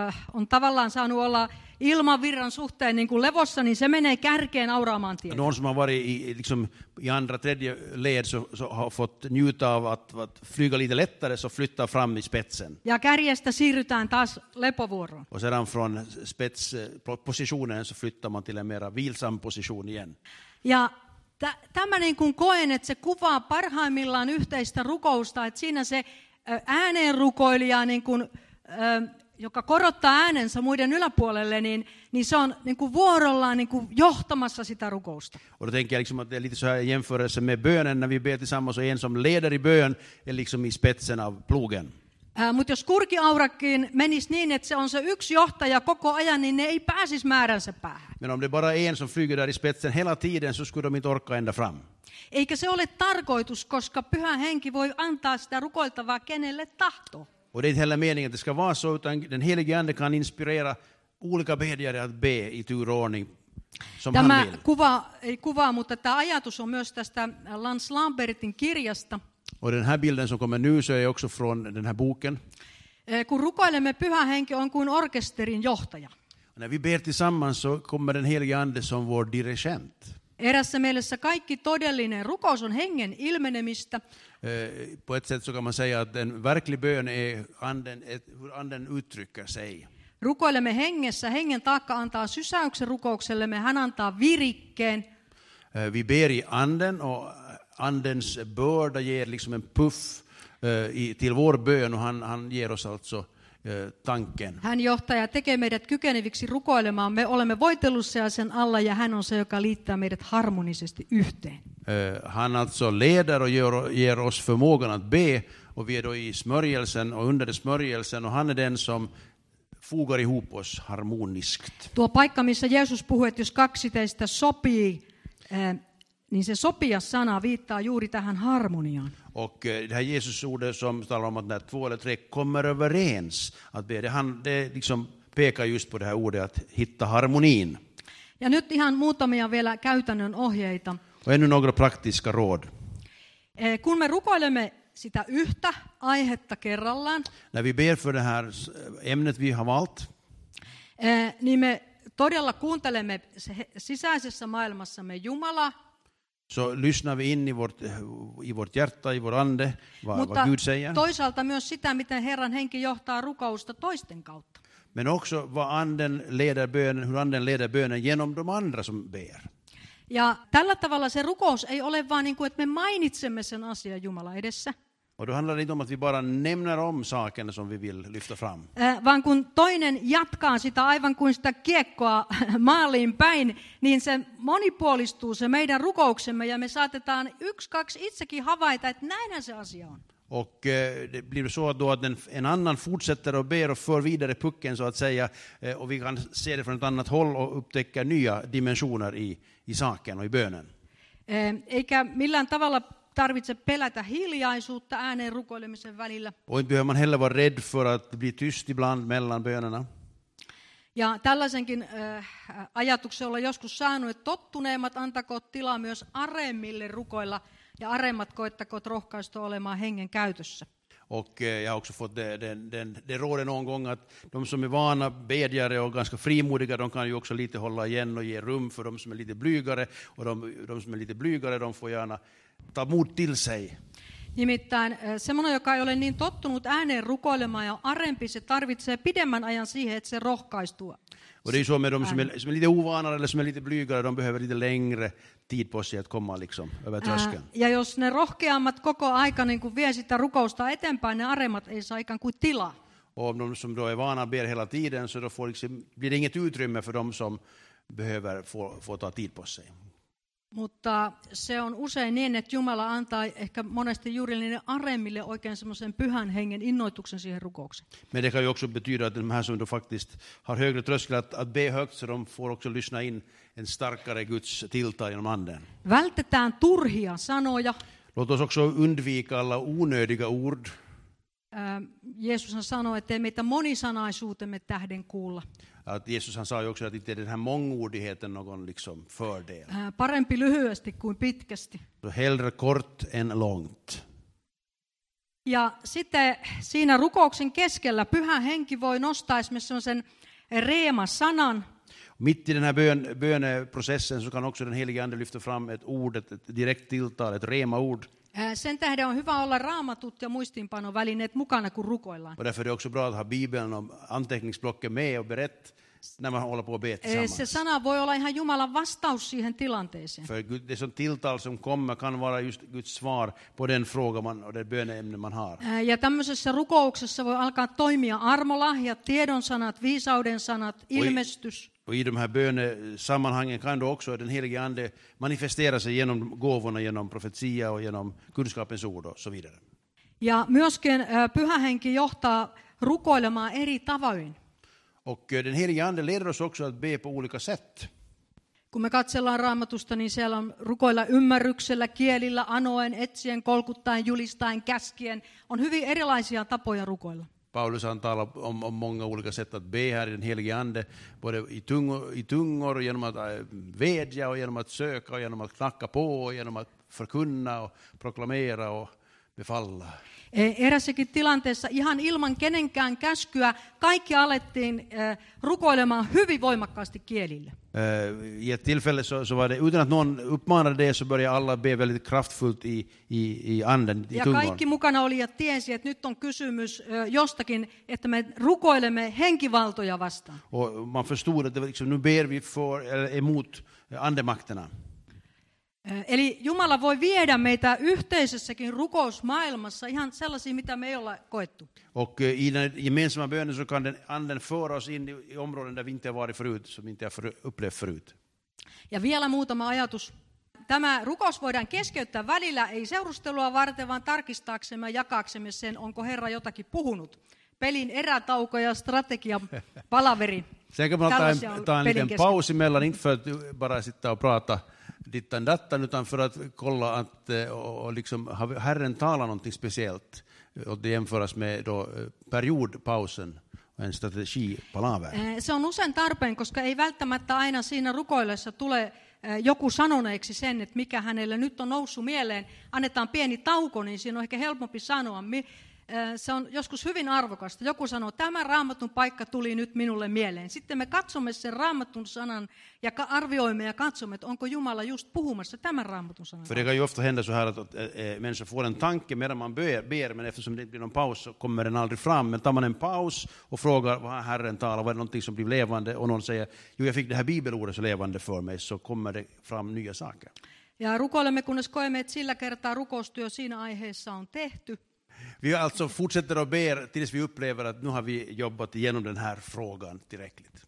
äh, on tavallaan saanut olla ilmavirran suhteen niin kuin levossa, niin se menee kärkeen auraamaan tietä.
Någon som har varit i, i liksom, i andra, tredje led så, så har fått njuta av att, att flyga lite lättare så flyttar fram i spetsen.
Ja kärjestä siirrytään taas lepovuoroon.
Och sedan från spetspositionen så flyttar man till en mera vilsam position igen.
Ja tä- tämä niin kuin koen, että se kuvaa parhaimmillaan yhteistä rukousta, että siinä se ö, ääneen rukoilija, niin kuin, ö, joka korottaa äänensä muiden yläpuolelle, niin, niin se on niin kuin vuorollaan niin kuin johtamassa sitä rukousta.
Och då tänker jag liksom att det är lite så här i jämförelse med bönen, när vi ber tillsammans och en som leder i bön är liksom i spetsen av plogen.
Mutta jos kurkiaurakin menisi niin, että se on se yksi johtaja koko ajan, niin ne ei pääsisi määränsä päähän.
Men om det bara är en som flyger där i spetsen hela tiden så skulle de inte orka ända fram.
Eikä se ole tarkoitus, koska pyhä henki voi antaa sitä rukoiltavaa kenelle tahtoo.
Och det är inte heller meningen att det ska vara så, utan den helige Ande kan inspirera olika bedjare att be i tur och ordning som
Tämä
han vill.
kuva, ei kuvaa, mutta tämä ajatus on myös tästä Lans Lambertin kirjasta.
Och den här bilden som kommer nu så är också från den här boken.
Eh, Kun rukoilemme, pyhä henki on kuin orkesterin johtaja.
Och när vi ber tillsammans så kommer den helige Ande som vår dirigent.
Erässä mielessä kaikki todellinen rukous on hengen ilmenemistä,
Eh, På ett sätt så kan man säga att en verklig bön är anden, ett, hur anden uttrycker sig.
Rukoilemme hengessä, hengen taakka antaa sysäyksen rukouksellemme, hän antaa virikkeen.
Eh, Vi ber i anden och andens börda ger liksom en puff eh, i, till vår bön och han, han ger oss alltså eh, tanken.
Hän johtaa ja tekee meidät kykeneviksi rukoilemaan. Me olemme voitelussa ja sen alla ja hän on se, joka liittää meidät harmonisesti yhteen.
Eh, Han alltså leder och gör, ger oss förmågan att be och vi är då i smörjelsen och under det smörjelsen och han är den som fogar ihop oss harmoniskt.
Tuo paikka, missä Jeesus puhuu, että jos kaksi teistä sopii, eh, niin se sopia-sana viittaa juuri tähän harmoniaan.
Och eh, det här Jesusordet som talar om att när två eller tre kommer överens att be, det, han, det liksom pekar just på det här ordet att hitta harmonin.
Ja nyt ihan muutamia vielä käytännön ohjeita.
Och ännu några praktiska råd.
Eh, Kun me rukoilemme sitä yhtä aihetta kerrallaan,
När vi ber för det här ämnet vi har valt
Eh, niin me todella kuuntelemme se- he- sisäisessä maailmassamme Jumalaa,
så lyssnar vi in i vårt, i vårt hjärta, i vår ande, vad,
mutta
vad Gud säger.
toisaalta myös sitä, miten Herran henki johtaa rukousta toisten kautta.
Men också vad anden leder bönen, hur anden leder bönen genom de andra som ber.
Ja tällä tavalla se rukous ei ole vaan niin kuin, että me mainitsemme sen asian Jumala edessä,
Och då handlar det inte om att vi bara nämner om sakerna som vi vill lyfta fram.
eh, vaan kun toinen jatkaa sitä aivan kuin sitä kiekkoa maaliin päin, niin se monipuolistuu se meidän rukouksemme ja me saatetaan yksi, kaksi itsekin havaita, että näinhän se asia on.
Och eh, det blir så då att en, en annan fortsätter och ber och för vidare pucken så att säga. Eh, och vi kan se det från ett annat håll och upptäcka nya dimensioner i, i saken och i bönen.
Ee, Eikä millään tavalla tarvitse pelätä hiljaisuutta ääneen rukoilemisen välillä.
Och inte behöver man heller vara rädd för att bli tyst ibland mellan bönerna.
Ja tällaisenkin äh, ajatuksen olla joskus saanut, että tottuneemmat antakoot tilaa myös aremmille rukoilla ja aremmat koettakoot rohkaistua olemaan hengen käytössä.
Och eh, jag har också fått det, den, den, det rådet någon gång att de som är vana bedjare och ganska frimodiga, de kan ju också lite hålla igen och ge rum för de som är lite blygare. Och de, de som är lite blygare, de får gärna ta mod till sig.
Nimittäin äh, semmoinen, joka ei ole niin tottunut ääneen rukoilemaan ja on arempi, se tarvitsee pidemmän ajan siihen, että se rohkaistuu.
Och det är ju så med de som är, som är lite ovanare eller som är lite blygare, de behöver lite längre tid på sig att komma liksom över
Ää,
tröskeln.
ja jos ne rohkeammat koko aika niin kuin vie sitä rukousta eteenpäin, ne aremmat ei saa ikään kuin tilaa.
Och om de som då är vana ber hela tiden så då får liksom, blir det inget utrymme för de som behöver få, få ta tid på sig.
Mutta se on usein niin, että Jumala antaa ehkä monesti juuri niille aremmille oikein semmoisen pyhän hengen innoituksen siihen rukoukseen.
Men det kan ju också betyda att de här som då faktiskt har högre tröskel att, att be högt, så de får också lyssna in en starkare Guds tilltal genom Anden.
Vältetään turhia sanoja.
Låt oss också undvika alla onödiga ord.
Ää, Jeesushan sanoi, että ei meitä monisanaisuutemme tähden kuulla.
Att Jesus han sa ju också att inte är den här mångordigheten någon liksom fördel.
Ää, Äh, Parempi lyhyesti kuin pitkästi.
Så hellre kort än långt.
Ja sitten siinä rukouksen keskellä pyhä henki voi nostaa esimerkiksi semmoisen reema-sanan,
Mitt i den här bön, böneprocessen så kan också den helige Ande lyfta fram ett ord, ett, ett direkt tilltal, ett rema-ord.
Ää, Äh, Sen tähden on hyvä olla raamatut ja muistiinpanovälineet mukana, kun rukoillaan.
Och därför är det också bra att ha Bibeln och anteckningsblocket med och berett när man håller på att be
Ee, Eh, Se
tillsammans.
sana voi olla ihan Jumalan vastaus siihen tilanteeseen.
För Gud- det som tilltal som kommer kan vara just Guds svar på den fråga man, och det böneämne man har.
Ää, Eh, Ja tämmöisessä rukouksessa voi alkaa toimia armolahjat, tiedon sanat, viisauden sanat, ilmestys.
Och i de här bönesammanhangen kan då också den helige Ande manifestera sig genom gåvorna, genom profetia och genom kunskapens ord och så vidare.
Ja myöskin ää, pyhä henki johtaa rukoilemaan eri tavoin.
Och eh, den helige Ande leder oss också att be på olika sätt.
Kun me katsellaan raamatusta, niin siellä on rukoilla ymmärryksellä, kielillä, anoen, etsien, kolkuttaen, julistaen, käskien. On hyvin erilaisia tapoja rukoilla.
Paulus han talar om, om många olika sätt att be här i den helige Ande, både i tungor, i tungor och genom att eh, vädja och genom att söka och genom att knacka på och genom att förkunna och proklamera och befalla.
E- Erässäkin tilanteessa ihan ilman kenenkään käskyä kaikki alettiin eh, rukoilemaan hyvin voimakkaasti kielillä.
Eh, I ett tillfälle så, så var det, utan att någon uppmanade det, så började alla be väldigt kraftfullt i, i, i anden, i
Ja
tungor.
kaikki mukana oli ja tiesi, että nyt on kysymys eh, jostakin, että me rukoilemme henkivaltoja vastaan.
Och man förstod att det var liksom, nu ber vi för, eller emot andemakterna.
Eh, Eli Jumala voi viedä meitä yhteisessäkin rukousmaailmassa ihan sellaisia, mitä me ei olla koettu.
Och eh, i den gemensamma bönen så kan den anden föra oss in i, i områden där vi inte har varit förut, som vi inte har för, upplevt förut.
Ja vielä muutama ajatus. Tämä rukous voidaan keskeyttää välillä, ei seurustelua varten, vaan tarkistaaksemme ja jakaaksemme sen, onko Herra jotakin puhunut. Pelin erätauko ja strategian palaveri.
Sen kan man ta
Tällaisia
en,
on
ta en
pelin
liten
kesken.
paus emellan, inte för att eh, bara sitta och prata dittan dattan, utan för att kolla att eh, och, och liksom, har Herren talar någonting speciellt. Och det jämföras med då eh, periodpausen och en strategipalaver.
Eh, Se on usein tarpeen, koska ei välttämättä aina siinä rukoillessa tule eh, joku sanoneeksi sen, että mikä hänelle nyt on noussut mieleen. Annetaan pieni tauko, niin siinä on ehkä helpompi sanoa. Mi- eh, Se on joskus hyvin arvokasta. Joku sanoo, tämä raamatun paikka tuli nyt minulle mieleen. Sitten me katsomme sen raamatun sanan ja ka- arvioimme ja katsomme, että onko Jumala just puhumassa tämän raamatun sanan.
För det kan ju ofta hända så här att, att eh, människor får en tanke medan man ber, ber, men eftersom det inte blir någon paus så kommer den aldrig fram. Men tar man en paus och frågar vad har Herren talar, vad är det någonting som blir levande, och någon säger jo, jag fick det här bibelordet så levande för mig, så kommer det fram nya saker.
Ja rukoilemme, kunnes koemme, että sillä kertaa rukoustyö siinä aiheessa on tehty.
Vi alltså fortsätter att ber tills vi upplever att nu har vi jobbat igenom den här frågan tillräckligt.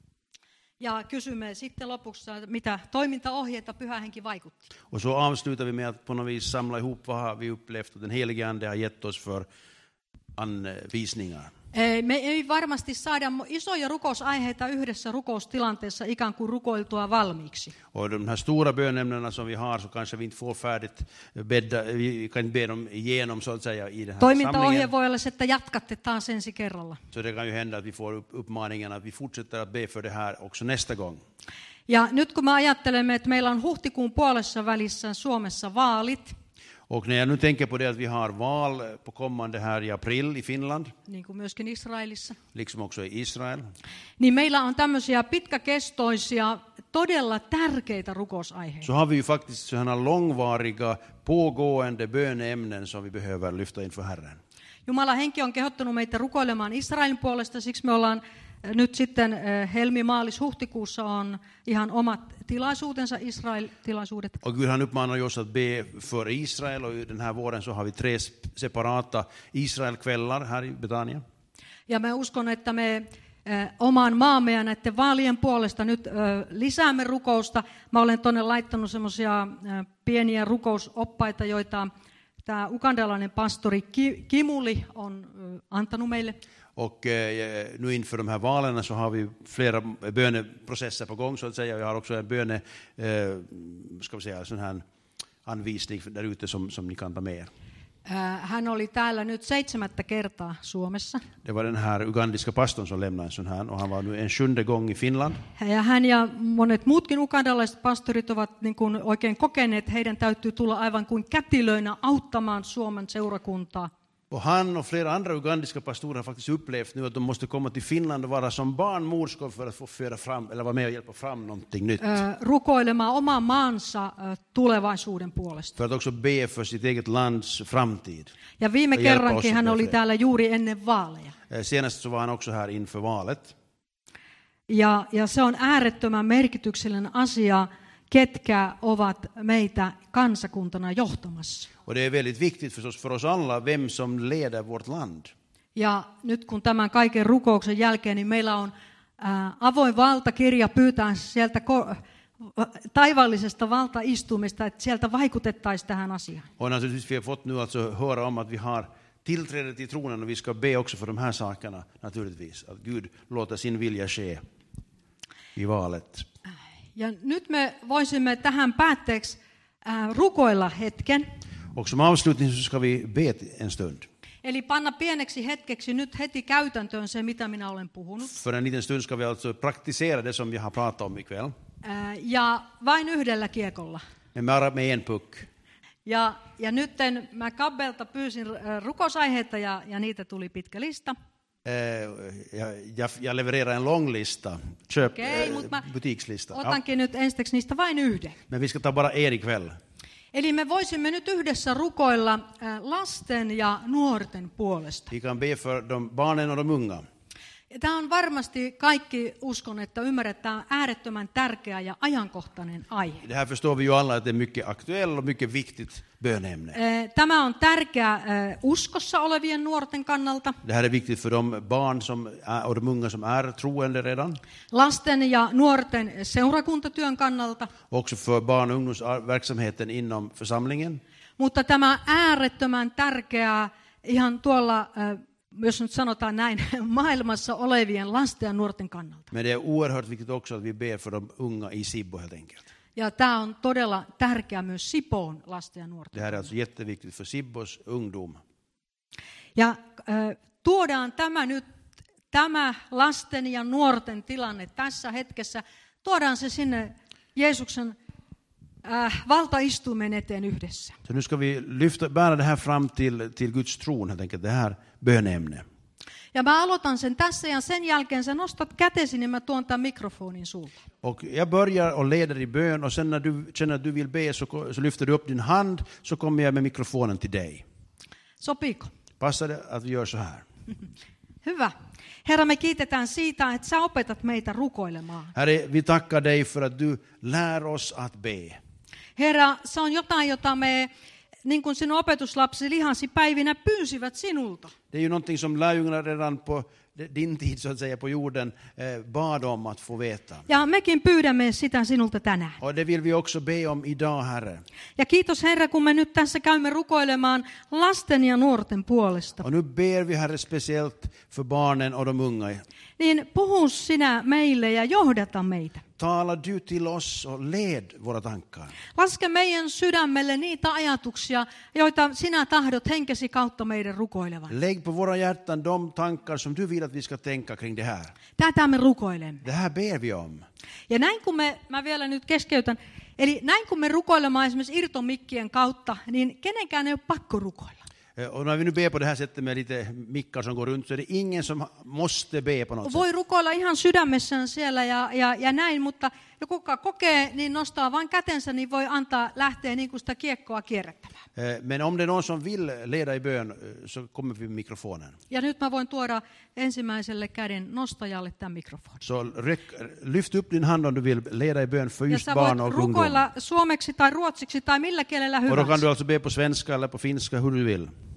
Ja kysymme sitten lopuksi, että mitä toimintaohjeita pyhä henki vaikutti.
Och så avslutar vi med att på något vis samla ihop vad har vi upplevt och den helige Ande har gett oss för anvisningar.
Ei, Eh, Me ei varmasti saada mo- isoja rukousaiheita yhdessä rukoustilanteessa ikään kuin rukoiltua valmiiksi.
Och de här stora bönämnena som vi har så kanske vi inte får färdigt bädda, vi kan inte be dem igenom så att säga i den här
Toimintaohje
samlingen.
voi olla se, että jatkatte taas ensi kerralla.
Så det kan ju hända att vi får upp- uppmaningen att vi fortsätter att be för det här också nästa gång.
Ja nyt kun me ajattelemme, että meillä on huhtikuun puolessa välissä Suomessa vaalit,
Och när jag nu tänker på det att vi har val på kommande här i april i Finland,
niin kuin myöskin Israelissa,
liksom också i Israel,
niin meillä on tämmöisiä pitkäkestoisia todella tärkeitä rukousaiheita.
så har vi ju faktiskt sådana långvariga, pågående böneämnen som vi behöver lyfta inför Herren.
Jumalan henki on kehottanut meitä rukoilemaan Israelin puolesta, siksi me ollaan äh, nyt sitten äh, helmi, maalis, huhtikuussa on ihan omat tilaisuutensa, Israel-tilaisuudet.
Och Gud han uppmanar ju oss att be för Israel och den här våren så har vi tre sp- separata Israelkvällar här i Betania.
Ja mä uskon, että me äh, oman maamme ja näiden vaalien puolesta nyt äh, lisäämme rukousta. Mä olen tuonne laittanut semmoisia pieniä rukousoppaita, joita tämä ukandalainen pastori Ki- Kimuli on äh, antanut meille.
Och eh, nu inför de här valen så har vi flera böneprocesser på gång så att säga. Jag har också en böne, eh, ska vi säga, sån här anvisning där ute som, som ni kan ta med er.
Äh, Hän oli täällä nyt seitsemättä kertaa Suomessa.
Det var den här ugandiska pastorn som lämnade en sån här och han var nu en sjunde gång i Finland.
Ja hän ja monet muutkin ukandalaiset pastorit ovat niin kuin oikein kokeneet, että heidän täytyy tulla aivan kuin kätilöinä auttamaan Suomen seurakuntaa.
Och han och flera andra ugandiska pastorer har faktiskt upplevt nu att de måste komma till Finland och vara som barnmorskor för att få föra fram, eller vara med och hjälpa fram någonting nytt.
ö, rukoilemaan oman maansa ö, tulevaisuuden puolesta.
För att också be för sitt eget lands framtid.
Ja viime
Ja Jelpa
kerrankin hän
Ossipää
oli
Fred.
täällä juuri ennen vaaleja.
Eh, Senast så var han också här inför valet.
Ja, ja se on äärettömän merkityksellinen asia, ketkä ovat meitä kansakuntana johtamassa.
Och det är väldigt viktigt förstås för oss alla vem som leder vårt land.
Ja nyt kun tämän kaiken rukouksen jälkeen, niin meillä on ää, avoin valtakirja pyytää sieltä ko- taivaallisesta valtaistumista, että sieltä vaikutettaisiin tähän asiaan.
Och naturligtvis vi har fått nu alltså höra om att vi har tillträde till tronen och vi ska be också för de här sakerna naturligtvis. Att Gud låter sin vilja ske i valet.
Ja nyt me voisimme tähän päätteeksi ää, rukoilla hetken,
Och som avslutning så ska vi be en stund.
eli panna pieneksi hetkeksi nyt heti käytäntöön se, mitä minä olen puhunut.
För en liten stund ska vi alltså praktisera det som vi har pratat om ikväll.
Ää, ja vain yhdellä kiekolla.
Men bara med en puck.
Ja, ja nyt mä Kabbelta pyysin ää, rukousaiheita ja, ja niitä tuli pitkä lista.
Eh, jag, jag, jag levererar en lång lista, köp,
Okei,
eh,
mutta mä
butikslista. Ja,
otankin nyt ensiksi niistä vain yhden.
men vi ska ta bara en ikväll.
Eli me voisimme nyt yhdessä rukoilla ää, lasten ja nuorten puolesta.
Vi kan be för de barnen och de unga.
Ja Tämä on varmasti kaikki uskon, että ymmärretään tämä on äärettömän tärkeä ja ajankohtainen aihe.
Det här förstår vi ju alla att det är mycket aktuellt och mycket viktigt bönämne.
Ää, Tämä on tärkeä ää, uskossa olevien nuorten kannalta,
Det här är viktigt för de barn som är, och de unga som är troende redan.
lasten ja nuorten seurakuntatyön kannalta,
Också för barn och ungdomsverksamheten inom församlingen.
mutta tämä on äärettömän tärkeää ihan tuolla, ää, jos nyt sanotaan näin, maailmassa olevien lasten ja nuorten kannalta.
Men det är oerhört viktigt också att vi ber för de unga i Sibbo helt enkelt.
Ja tämä on todella tärkeä myös Sipoon lasten ja nuorten.
Det här är alltså jätteviktigt för Sibbos ungdom.
Ja äh, tuodaan tämä nyt, tämä lasten ja nuorten tilanne tässä hetkessä, tuodaan se sinne Jeesuksen äh, valtaistuimen eteen yhdessä.
Så nu ska vi lyfta, bära det här fram till, till Guds tron helt enkelt, det här bönämnet.
Ja mä aloitan sen tässä ja sen jälkeen sä nostat kätesi, niin mä tuon tämän mikrofonin sulle.
Och jag börjar och leder i bön och sen när du känner att du vill be så, ko- så lyfter du upp din hand så kommer jag med mikrofonen till dig.
Sopiiko?
Passar det att vi gör så här?
Hyvä. Herra, me kiitetään siitä, että sä opetat meitä rukoilemaan.
Herre, vi tackar dig för att du lär oss att be.
Herra, se on jotain, jota me, niin kuin sinun opetuslapsi lihasi päivinä, pyysivät sinulta.
Det är ju någonting som lärjungarna redan på din tid så att säga på jorden eh, bad om att få veta.
Ja mekin pyydämme sitä sinulta tänään.
Och det vill vi också be om idag, Herre.
Ja kiitos Herra, kun me nyt tässä käymme rukoilemaan lasten ja nuorten puolesta.
Och nu ber vi, Herre, speciellt för barnen och de unga.
Niin puhu sinä meille ja johdata meitä.
Tala du till oss och led våra tankar.
Laske meidän sydämelle niitä ajatuksia, joita sinä tahdot henkesi kautta meidän rukoilevan.
Lägg på våra hjärtan de tankar som du vill att vi ska tänka kring det här.
Tätä me rukoilemme.
Det här ber vi om.
Ja näin kun me, mä vielä nyt keskeytän, eli näin kun me rukoilemaan esimerkiksi irtomikkien kautta, niin kenenkään ei ole pakko rukoilla.
Eh, Eh, Och när vi nu ber på det här sättet med lite mickar som går runt så är det ingen som måste be på något sätt.
Voi rukoilla ihan sydämessään siellä ja, ja, ja näin, mutta joku joka kokee, niin nostaa vain kätensä, niin voi antaa lähteä niin kuin sitä kiekkoa kierrättämään.
Eh, Men om det är någon som vill leda i bön eh, så kommer vi med mikrofonen.
Ja nyt mä voin tuoda ensimmäiselle käden nostajalle tämän mikrofonin.
Så ryck, lyft upp din hand om du vill leda i bön för
Ja
just
sä
barn
voit
och ungdom.
rukoilla suomeksi tai ruotsiksi tai millä kielellä
Och då kan
hyvänsä.
du alltså be på svenska eller på finska, hur du vill.